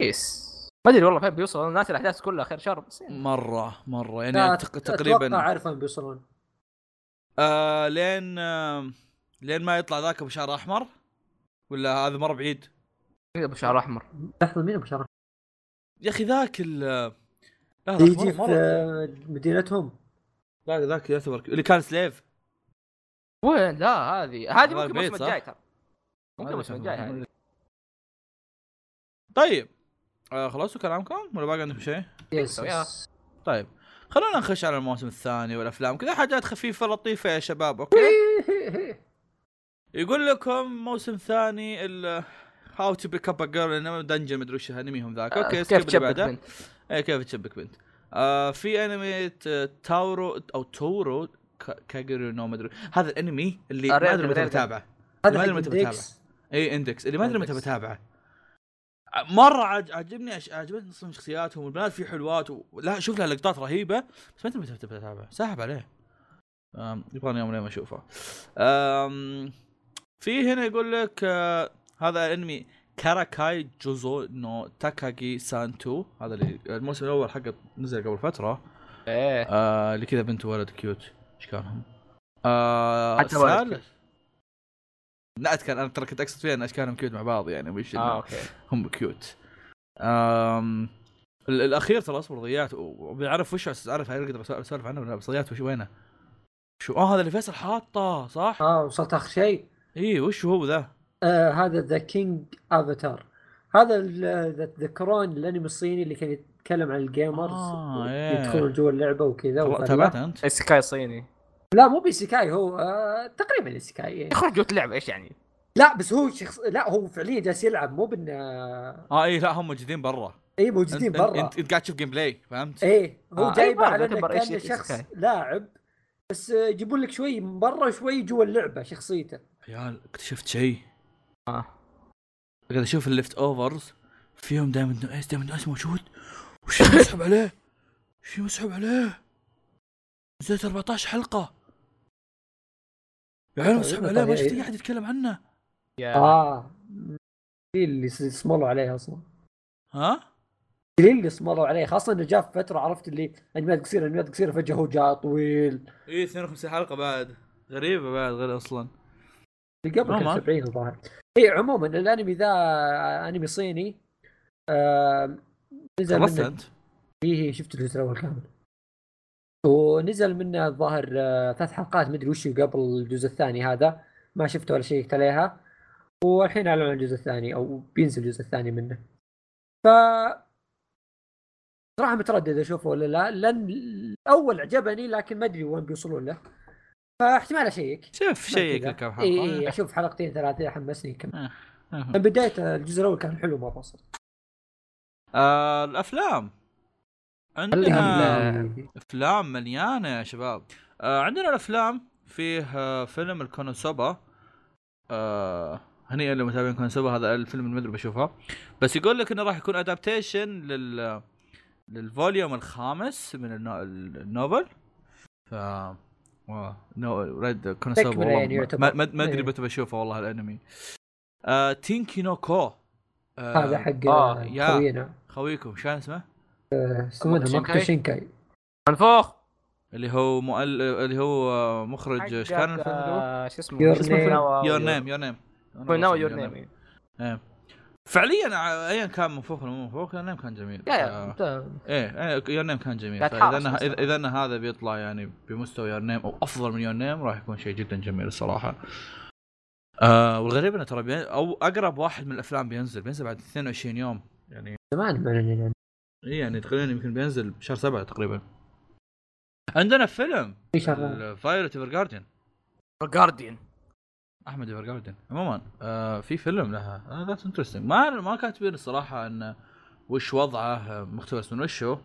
S1: كويس ما ادري والله فين بيوصل أنا ناسي الاحداث كلها خير شر بس يعني.
S3: مره مره يعني
S2: لا،
S3: أعتق-
S2: أتوقع
S3: تقريبا
S2: عارف وين بيوصلون
S3: آه لين آه لين ما يطلع ذاك ابو شعر احمر ولا هذا مره بعيد
S1: ابو شعر احمر
S2: لحظه مين ابو شرف؟
S3: يا اخي ذاك ال لا ذاك
S2: يجي
S3: مرة-
S2: في
S3: مرة-
S2: آه، مدينتهم
S3: لا ذاك يعتبر اللي كان سليف
S1: وين لا هذه هذه
S3: هذا
S1: ممكن الموسم
S3: البيت، صح؟
S1: الجاي ترى ممكن الموسم الجاي هذه.
S3: طيب آه خلصتوا كلامكم ولا باقي عندكم شيء؟
S2: يس
S1: وياه.
S2: يس.
S3: طيب خلونا نخش على الموسم الثاني والافلام كذا حاجات خفيفه لطيفه يا شباب
S2: إيه،
S3: اوكي يقول لكم موسم ثاني ال هاو تو بيك اب ا جيرل دنجن مدري وش انميهم ذاك اوكي
S1: آه، كيف
S3: سكيب اللي
S1: تشبك
S3: بعده.
S1: بنت؟
S3: ايه كيف تشبك بنت آه في انمي ت- تاورو او تورو ك- كاجوريو نو مدري هذا الانمي اللي ما
S1: الريلغن،
S3: ادري متى
S1: الريلغن.
S3: بتابعه
S2: هذا
S3: ما أدري
S2: حق
S3: متى بتابع.
S2: الديكس.
S3: اي اندكس اللي ما ادري متى
S1: إندكس.
S3: بتابعه مره عج- عجبني أش... عجبتني اصلا شخصياتهم والبنات فيه حلوات و... لا شوف لها لقطات رهيبه بس ما ادري متى بتبدا اتابعه ساحب عليه أم، يبغاني يوم لين ما اشوفه أم، في هنا يقول لك آه، هذا انمي كاراكاي جوزو نو تاكاجي سانتو هذا اللي الموسم الاول حقه نزل قبل فتره
S1: ايه
S3: آه اللي كذا بنت وولد كيوت ايش كانهم؟ آه
S1: حتى ولد
S3: الثالث- لا اتكلم انا ترى كنت اقصد فيها ان اشكالهم كيوت مع بعض يعني مش
S1: اه
S3: آه.
S1: اوكي
S3: هم كيوت آم ال- الاخير ترى اصبر ضيعت وبيعرف وش أس- اعرف هيقدر أس- اسولف عنه ولا لا، بس ضيعت وش وينه شو اه هذا اللي فيصل حاطه صح؟
S2: اه وصلت اخر شيء
S3: اي وش هو ذا؟
S2: آه هذا ذا كينج افاتار هذا ال- اذا تذكرون الانمي الصيني اللي كان يتكلم عن الجيمرز
S3: آه، إيه.
S2: يدخلون جوا اللعبه وكذا
S3: ترى-
S2: وفلا.
S3: تابعته انت؟
S1: السكاي إيه، صيني
S2: لا مو بيسيكاي هو آه تقريبا ايسيكاي
S1: يخرج جوة لعبه ايش يعني؟
S2: لا بس هو شخص لا هو فعليا جالس يلعب مو بان آه،
S3: اه اي لا هم موجودين برا
S2: اي
S3: أنت-
S2: موجودين
S3: أنت-
S2: برا
S3: انت أنت إيه، قاعد تشوف جيم بلاي فهمت؟
S2: ايه هو
S1: آه،
S2: جايبه
S1: أي
S2: على
S1: برضه
S2: انه
S1: يعتبر
S2: كان
S1: إيش- إيش
S2: شخص
S1: كان.
S2: لاعب بس آه، يجيبون لك شوي من برا وشوي جوا اللعبه شخصيته
S3: عيال اكتشفت شيء
S1: آه.
S3: قاعد اشوف الليفت اوفرز فيهم دايموند نويس دايموند نويس موجود وش مسحب عليه شي مسحب عليه نزلت 14 حلقه يا عيال مسحب عليه ما شفت أي احد يتكلم عنه آه.
S1: يا
S2: اه دي اللي س- سمروا عليه اصلا
S3: ها
S2: دليل اللي سمروا عليه خاصه انه جاء في فتره عرفت اللي انميات قصيره انميات قصيره فجاه هو جاء طويل
S3: اي 52 حلقه بعد غريبه بعد غير اصلا
S2: اللي قبل
S3: عموماً.
S2: كان 70 الظاهر اي عموما الانمي ذا انمي صيني آه نزل
S3: خلصت
S2: منه
S3: انت
S2: فيه إيه، شفت الجزء الاول كامل ونزل منه الظاهر آه، ثلاث حلقات مدري وش قبل الجزء الثاني هذا ما شفته ولا شيكت عليها والحين اعلن عن الجزء الثاني او بينزل الجزء الثاني منه ف صراحة متردد اشوفه ولا لا لان الاول عجبني لكن ما ادري وين بيوصلون له فاحتمال اشيك
S3: شوف شيك
S2: كذا. إيه.
S3: لك كم
S2: اي اي
S3: حلقه
S2: اشوف حلقتين ثلاثة إذا حمسني كم
S3: آه. آه.
S2: من بداية الجزء الاول كان حلو مرة صراحة
S3: آه، الافلام عندنا افلام مليانه يا شباب آه عندنا الافلام فيه آه فيلم الكونوسوبا آه هنيئا للمتابعين كونوسوبا هذا الفيلم اللي ما ادري بشوفه بس يقول لك انه راح يكون ادابتيشن لل للفوليوم الخامس من النو... النوفل ف واو، نو ريد كونوسوبا
S2: تكملة
S3: والله
S2: يعني
S3: ما-
S2: يعتبر.
S3: ما ما ادري
S2: إيه.
S3: متى بشوفه والله الانمي آه تينكي نو كو آه
S2: هذا حق
S1: آه،
S2: آه،
S3: يا.
S2: خوينا
S3: خويكم شو كان اسمه؟
S2: يسمونها مقتل
S1: شينكاي؟
S2: شينكاي
S1: منفوخ
S3: اللي هو مؤل... اللي هو آه، مخرج ايش كان
S1: حقك،
S3: الفيلم اللي هو؟
S1: آه، شو اسمه
S2: Your
S1: شو اسمه
S2: Name.
S1: فناوا-
S3: يور نيم يور نيم
S1: فناوا يور نيم
S3: ايه فعليا ع- ايا كان من فوق ولا مو من فوق يور نيم كان جميل
S1: يا يا،
S3: آه،
S2: تمام.
S3: ايه إيه، يور نيم كان جميل
S1: قاعد تحارش
S3: فاذا إنها-
S1: بس.
S3: اذا إن هذا بيطلع يعني بمستوى يور نيم او افضل من يور نيم راح يكون شيء جدا جميل الصراحه آه والغريب انه ترى بين- او اقرب واحد من الافلام بينزل بينزل بعد 22 يوم يعني
S2: زمان معلنين عنه.
S3: إيه يعني تقريبا يمكن بينزل بشهر سبعة تقريبا عندنا فيلم
S2: في شغله
S3: فايرت ايفر جارديان
S1: جارديان
S3: احمد ايفر جاردن عموما آه في فيلم لها ذاتس انترستنج ما ما كاتبين الصراحه انه وش وضعه آه، مقتبس من وشو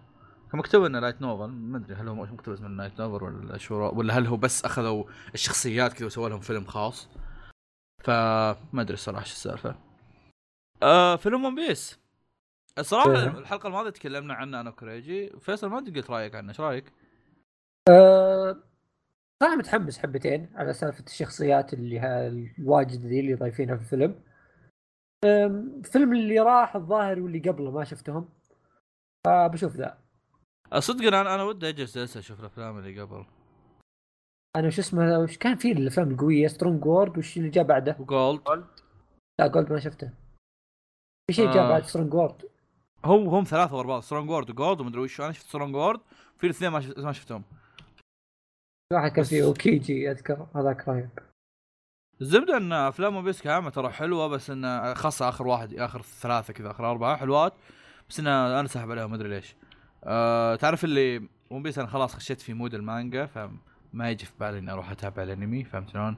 S3: كان مكتوب انه لايت نوفل ما ادري هل هو مقتبس من لايت نوفل ولا شو ولا هل هو بس اخذوا الشخصيات كذا وسووا لهم فيلم خاص فما ادري الصراحه شو السالفه آه فيلم ون بيس الصراحه
S2: إيه.
S3: الحلقه الماضيه تكلمنا عنه انا وكريجي فيصل ما أدري قلت رايك عنه ايش رايك؟
S2: آه، صراحه متحمس حبتين على سالفه الشخصيات اللي ها- الواجد ذي اللي ضايفينها في الفيلم آم، الفيلم اللي راح الظاهر واللي قبله ما شفتهم فبشوف ذا
S3: آه، صدق انا انا ودي اجلس جلسه اشوف الافلام اللي قبل
S2: انا شو اسمه وش كان في الافلام القويه سترونج وورد وش اللي جاء بعده؟
S3: وجولد
S2: لا جولد ما شفته في شيء جاء
S3: آه.
S2: بعد سترونج وورد
S3: هم هم ثلاثة ورا بعض سترونج وورد وجولد ومدري وش انا شفت سترونج وورد في الاثنين ما, شفت ما شفتهم
S2: واحد كان
S3: بس-
S2: فيه اوكيجي اذكر هذاك رهيب
S3: الزبدة ان افلام ون بيس كامة ترى حلوة بس ان خاصة اخر واحد اخر ثلاثة كذا اخر اربعة حلوات بس ان انا ساحب عليهم ما ادري ليش أه تعرف اللي ون بيس انا خلاص خشيت في مود المانجا فما يجي في بالي اني اروح اتابع الانمي فهمت شلون؟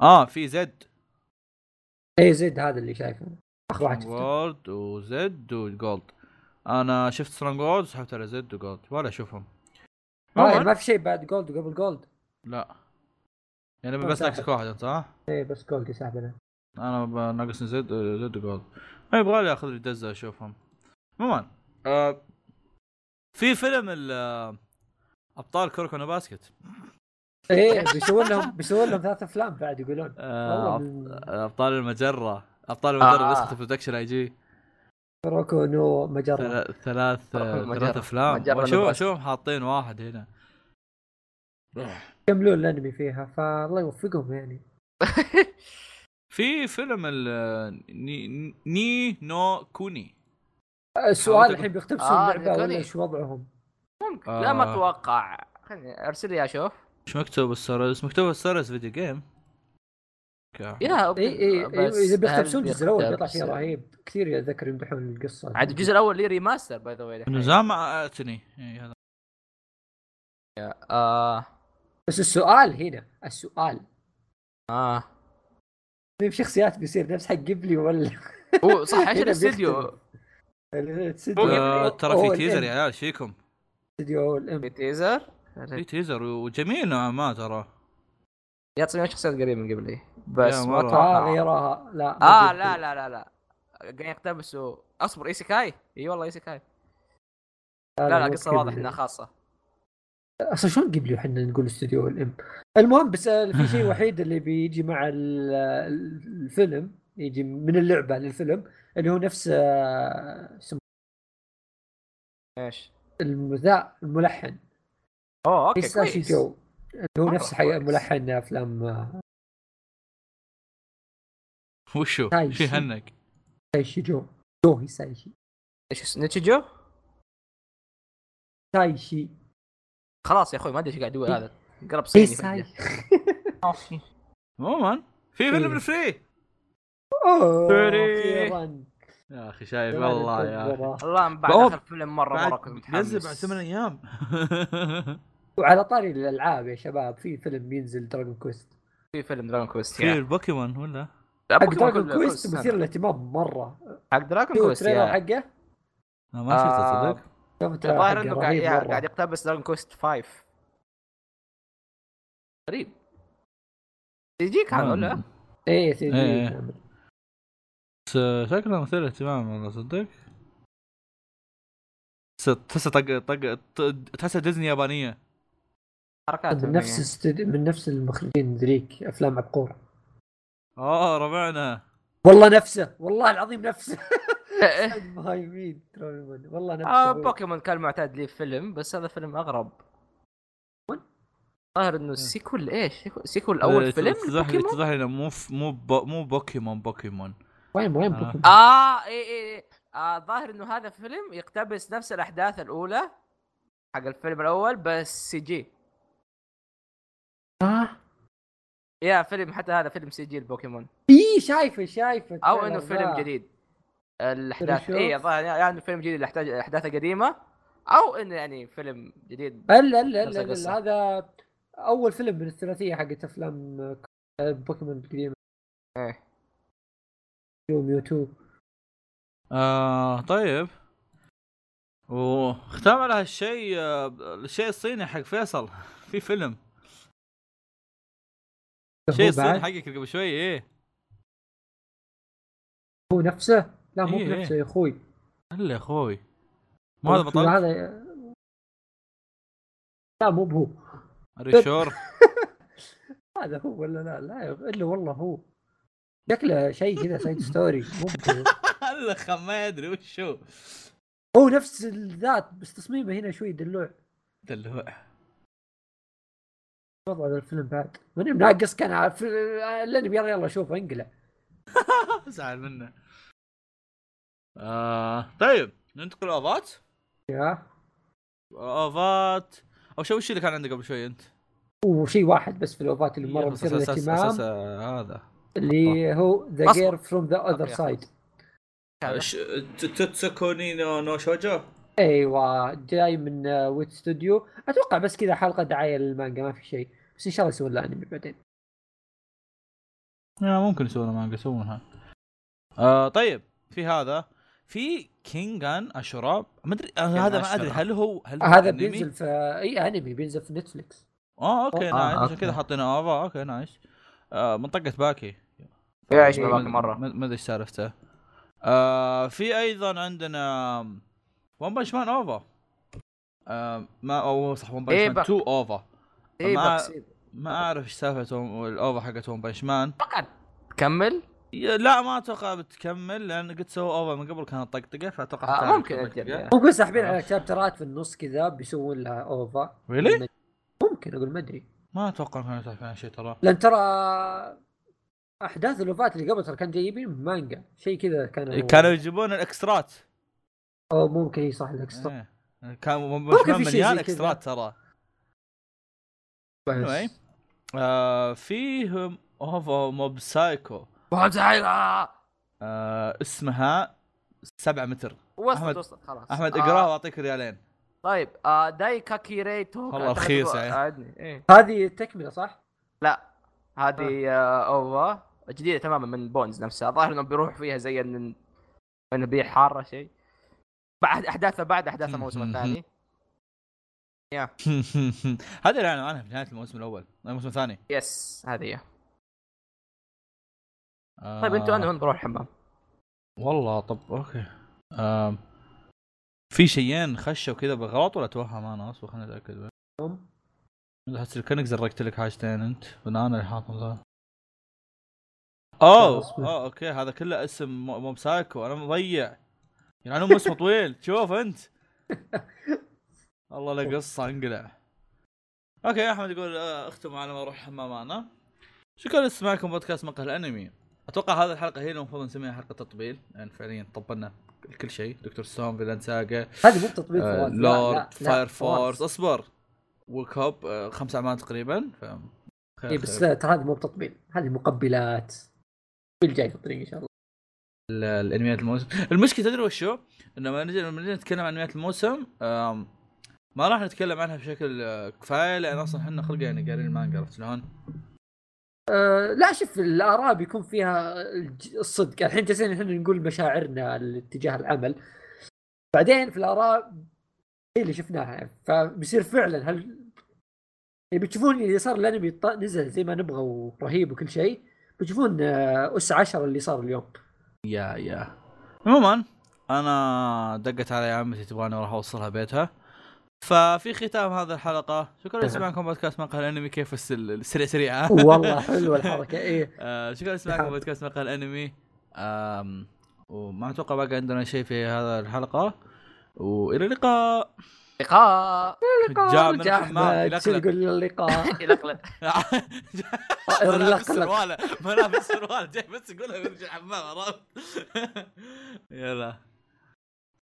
S3: اه في زد
S2: اي زد هذا اللي شايفه اخر واحد شفته
S3: وورد وزد وجولد انا شفت سترونج وورد وسحبت على زد وجولد ولا اشوفهم
S2: آه، يعني ما في شيء بعد جولد قبل جولد
S3: لا يعني
S2: ما
S3: بس
S2: مساحة.
S3: ناقصك واحد انت صح؟
S2: اي بس جولد يسحب عليه
S3: انا ب- ناقصني زد زد جولد ما يبغى لي اخذ لي دزه اشوفهم عموما آه في فيلم ال آه، ابطال كوركونا باسكت
S2: ايه بيسوون لهم بيسوون لهم ثلاث افلام بعد يقولون والله
S3: آه
S2: من
S3: ابطال المجره ابطال المجره
S1: آه.
S3: آه. نسخه برودكشن اي جي
S2: روكو نو مجرة
S3: ثلاث ثلاث
S1: أبطال
S3: آه،
S1: المجرة.
S3: ثلاث افلام
S1: مجرة
S3: شو
S1: نبغى.
S3: شو حاطين واحد هنا
S2: يكملون الانمي فيها فالله يوفقهم يعني
S3: في فيلم ال آه، ني, ني- ني نو كوني آه،
S2: السؤال الحين بيختبسون
S1: آه،
S2: اللعبه ولا
S1: ذكرني.
S2: ايش وضعهم؟
S1: ممكن لا ما
S3: آه.
S1: اتوقع خليني ارسل لي اشوف
S3: ايش مكتوب السيرس مكتوب السيرس فيديو جيم كا.
S1: يا أوكي،
S2: اي اي
S1: بس
S2: إي، اذا بيختبسون
S1: هل
S2: الجزء الاول بيطلع
S1: بيقتبس؟
S2: فيه رهيب كثير يتذكر يمدحون القصه
S1: عاد الجزء الاول لي ريماستر باي ذا واي
S2: إيه.
S3: نزام اعتني إي آه، إيه، هذا
S1: اه
S2: بس السؤال هنا السؤال
S1: اه
S2: مين شخصيات بيصير نفس حق قبلي ولا
S1: هو صح ايش
S2: هنا
S1: الاستديو؟
S2: الاستديو
S3: آه، ترى
S2: هو
S3: في
S2: ال
S3: تيزر
S2: M.
S3: يا عيال ايش فيكم؟
S2: الاستديو الام
S1: تيزر
S2: إيه.
S3: في تيزر وجميل نوعا ما ترى
S1: يا تصميم شخصيات قريب من قبلي بس
S3: يا
S1: ما
S3: مرة.
S2: آه،
S1: اتوقع
S2: غيرها لا
S1: اه لا لا لا لا قاعدين يقتبسوا اصبر ايسيكاي اي والله ايسيكاي
S2: آه،
S1: لا لا قصه واضح انها خاصه
S2: اصلا شلون قبل احنا نقول استوديو الام المهم بس آه، في شيء وحيد اللي بيجي مع ال- ال- الفيلم يجي من اللعبه للفيلم اللي هو نفس آه، اسمه
S1: ايش؟
S2: المذاع الملحن
S1: اوه اوكي
S2: هيساشي
S1: كويس
S2: جو اللي هو
S1: مرة
S2: نفس حي-
S1: كويس.
S2: ملحن افلام آه،
S3: وشو؟
S2: هاي
S3: شي
S2: شي.
S3: هنك؟
S2: هيساشي جو جو هيساشي
S1: ايش اس- نيتشيجو؟
S2: تايشي
S1: خلاص يا اخوي ما ادري ايش قاعد يقول هذا قرب صيني
S2: هيساي
S1: فجأة.
S3: عموما في
S2: إيه.
S3: فيلم فري
S2: اوه
S3: سوري.
S2: أخيراً.
S3: يا اخي شايف
S2: زمان
S3: والله يا اخي
S2: التجربة.
S1: والله من بعد
S3: بأوف.
S1: اخر فيلم مره مره كنت متحمس
S3: نزل بعد ثمان ايام
S2: وعلى طاري الالعاب يا شباب في فيلم بينزل دراجون كويست
S1: في فيلم دراجون كويست يعني.
S3: في
S1: يا
S3: البوكيمون ولا؟
S2: حق
S1: بوكيمون
S2: دراجون
S1: كله- كل
S2: كويست
S1: سنة.
S2: مثير للاهتمام مره
S1: حق دراجون
S2: شو
S1: كويست
S2: التريلر
S1: يا
S2: حقه
S3: أنا ما شفته
S1: آه.
S3: تصدق
S2: شوف التريلر
S1: الظاهر
S2: حقه
S1: انه قاعد
S2: رهيب
S1: يا-
S2: مرة.
S1: قاعد يقتبس دراجون كويست 5 غريب يجيك هذا ولا؟
S3: مم.
S2: ايه سي
S3: إيه.
S2: جي
S3: بس شكله مثير اهتمام والله صدق بس تحسه طق طق ط- تحسه ديزني يابانيه
S1: حركات يعني.
S2: من نفس استد... من نفس المخرجين ذريك افلام عبقور
S3: اوه آه، ربعنا
S2: والله نفسه والله العظيم نفسه
S1: إيه.
S2: مهايمين ترولمون والله
S1: آه،
S2: نفسه
S1: بوكيمون كان معتاد لي فيلم بس هذا فيلم أه. اغرب ظاهر انه سيكول ايش؟ سيكول- سيكول اول فيلم
S3: تضح أه، إيه، لي
S1: بوكيمون؟
S3: تضح لي إنه مو ف- مو ب- مو بوكيمون بوكيمون
S2: وين وين
S3: آه.
S2: بوكو؟
S1: اه اي اي إي. آه ظاهر انه هذا فيلم يقتبس نفس الاحداث الاولى حق الفيلم الاول بس سي جي
S2: آه.
S1: يا فيلم حتى هذا فيلم سي جي البوكيمون
S2: اي شايفه شايفه
S1: او انه فيلم
S2: ذا.
S1: جديد الاحداث
S2: فيلم
S1: اي
S2: شوف.
S1: الظاهر يعني انه فيلم جديد الاحداث الاحداث قديمه او انه يعني فيلم جديد
S2: الا الا
S1: نفس
S2: الا,
S1: القصة.
S2: إلا هذا اول فيلم من الثلاثيه حقت افلام آه، بوكيمون القديمه
S1: إيه.
S2: ميو ميوتو
S3: آه طيب وختام على هالشيء آه، الشيء الصيني حق فيصل في فيلم الشيء
S2: هو
S3: الصيني
S2: بعد
S3: حقك قبل شوي ايه
S2: هو نفسه لا مو
S3: إيه، إيه.
S2: بنفسه يا اخوي
S3: الا يا اخوي مو هذا
S2: شو
S3: بطل
S2: هذا لا مو بهو
S3: ريشور
S2: هذا هو ولا لا لا يا- الا والله هو شكله شيء كذا سايد ستوري مو بهو.
S3: الا خم ما يدري وش هو
S2: هو نفس الذات بس تصميمه هنا شوي دلوع
S3: دلوع
S2: وضع هذا الفيلم بعد من ناقص كان عارف الانمي يلا يلا شوف انقله
S3: ازعل منه آه طيب ننتقل اوفات
S2: يا
S3: اوفات او شو وش اللي كان عندك قبل شوي انت؟
S2: وشيء واحد بس في الاوفات اللي مره مثير
S3: أساس- أساس-
S2: للاهتمام
S3: أساس- هذا
S2: اللي هو ذا
S1: أصبر.
S2: جير فروم ذا اذر
S1: أوكي، خلاص.
S2: سايد
S3: آه، تتسكوني آه، نو نو شوجو
S2: ايوه جاي من آه، ويت ستوديو اتوقع بس كذا حلقه دعايه للمانجا ما في شيء بس ان شاء الله يسوون لها انمي بعدين
S3: آه ممكن يسوون مانجا يسوونها آه طيب في هذا في كينجان اشراب ما ادري آه
S1: كينغان
S3: هذا ما
S1: أشراب.
S3: ادري هل هو
S1: آه،
S3: هل هو
S2: هذا
S3: أنمي؟
S2: بينزل في اي انمي بينزل في نتفلكس
S3: اه اوكي
S1: آه،
S3: نايس عشان
S1: أوكي.
S3: كذا حاطينه اوفا اوكي نايس آه منطقه باكي
S1: يا عيش
S2: إيه.
S1: باباك مره
S3: ما ما ادري ايش سالفته آه في ايضا عندنا ون بنش مان اوفا آه ما او صح ون
S1: إيه
S3: بنش مان
S1: بق-
S3: 2 اوفا
S1: اي
S3: ما-
S1: بقصير.
S3: ما اعرف ايش سالفه ون- الاوفا حقت ون بنش مان
S1: فقط كمل
S3: يا- لا ما اتوقع بتكمل لان قد سووا اوفا من قبل كانت طقطقه فاتوقع
S1: آه،
S3: حتعرف
S1: ممكن
S3: الطقطقة.
S1: أجل، يا.
S2: ممكن ساحبين على شابترات في النص كذا بيسوون لها اوفا
S3: Really؟
S2: ممكن اقول ما ادري
S3: ما اتوقع كانوا تعرفين عن شيء ترى
S2: لان ترى احداث الاوفات اللي قبل ترى كان جايبين مانجا شيء كذا كان
S3: كانوا يجيبون الاكسترات
S2: او ممكن هي صح الاكسترا
S3: إيه. كان ون
S2: ممكن
S3: بنش
S2: في
S3: مان
S2: شيء
S3: مليان
S2: زي كذا.
S3: اكسترات ترى anyway.
S2: بس
S3: آه فيهم اوفا موب سايكو
S1: وهذا زعيرة.
S3: آه اسمها 7 متر أحمد-
S1: وصلت وصلت خلاص
S3: احمد
S1: آه،
S3: اقراها واعطيك ريالين
S1: طيب آه داي كاكيري توك
S3: والله رخيص يعني.
S1: عادني إيه.
S2: هذه التكمله صح؟
S1: لا هذه آه اوفا جديده تماما من بونز نفسها الظاهر انهم بيروح فيها زي ان انه بيع حاره شيء بعد احداثها بعد احداث الموسم الثاني
S3: هذا اللي اعلنوا عنها في نهايه الموسم الاول الموسم الثاني
S1: يس هذه هي
S3: آه
S1: طيب انتوا انا بروح الحمام
S3: والله طب اوكي آه في شيئين خشوا كذا بالغلط ولا توهم انا اصبر خليني اتاكد بس.
S2: هم؟
S3: احس كانك زرقت لك حاجتين انت بان انا اللي حاطهم ذا اوه
S2: أصبر.
S3: اوه اوكي هذا كله اسم مو- موب سايكو انا مضيع يعني مو اسمه طويل شوف انت والله لا قصه انقلع اوكي يا احمد يقول آه، اختم على ما اروح الحمام انا شكرا لاستماعكم بودكاست مقهى الانمي اتوقع هذه الحلقه هي اللي المفروض نسميها حلقه تطبيل يعني فعليا طبلنا كل شيء دكتور ستون فيلان ساجا
S2: هذه مو بتطبيق
S3: آه،
S2: فواز، لا، لا،
S3: لورد
S2: لا،
S3: فاير
S2: فواز.
S3: فورس اصبر وكوب آه، خمس اعمال تقريبا ف خير
S2: اي إيه، بس
S3: خير.
S2: لا، ترى هذا مو بتطبيل هذه مقبلات الجاي في الطريق ان شاء الله
S3: ال- الانميات الموسم المشكله تدري وشو؟ انه لما نجي لما نجي نتكلم عن انميات الموسم آم، ما راح نتكلم عنها بشكل آه، كفايه لان اصلا احنا خلق يعني قارين المانجا عرفت شلون؟
S2: أه لا شوف الاراء بيكون فيها الج- الصدق الحين جالسين احنا نقول مشاعرنا لاتجاه العمل بعدين في الاراء هي اللي شفناها فبيصير فعلا هل يعني بتشوفون اللي صار الانمي ط- نزل زي ما نبغى ورهيب وكل شيء بتشوفون آه، اس 10 اللي صار اليوم
S3: يا يا عموما انا دقت علي عمتي تبغاني اروح اوصلها بيتها ففي ختام هذه الحلقه شكرا لسماعكم بودكاست مقهى الانمي كيف الس- السريع سريع ها؟
S2: والله حلوه الحركه ايه
S3: آه، شكرا لسماعكم
S2: نعم.
S3: بودكاست مقهى الانمي آم، وما اتوقع باقي عندنا شيء في هذا الحلقه والى اللقاء
S1: لقاء
S3: جاء من
S2: رجع
S3: الحمام
S2: أحمد، شو
S3: يلقلق.
S2: تقول اللقاء
S3: ما لابس
S2: يلقلق.
S3: سرواله ما لابس سرواله جاي بس يقولها ويرجع الحمام عرفت يلا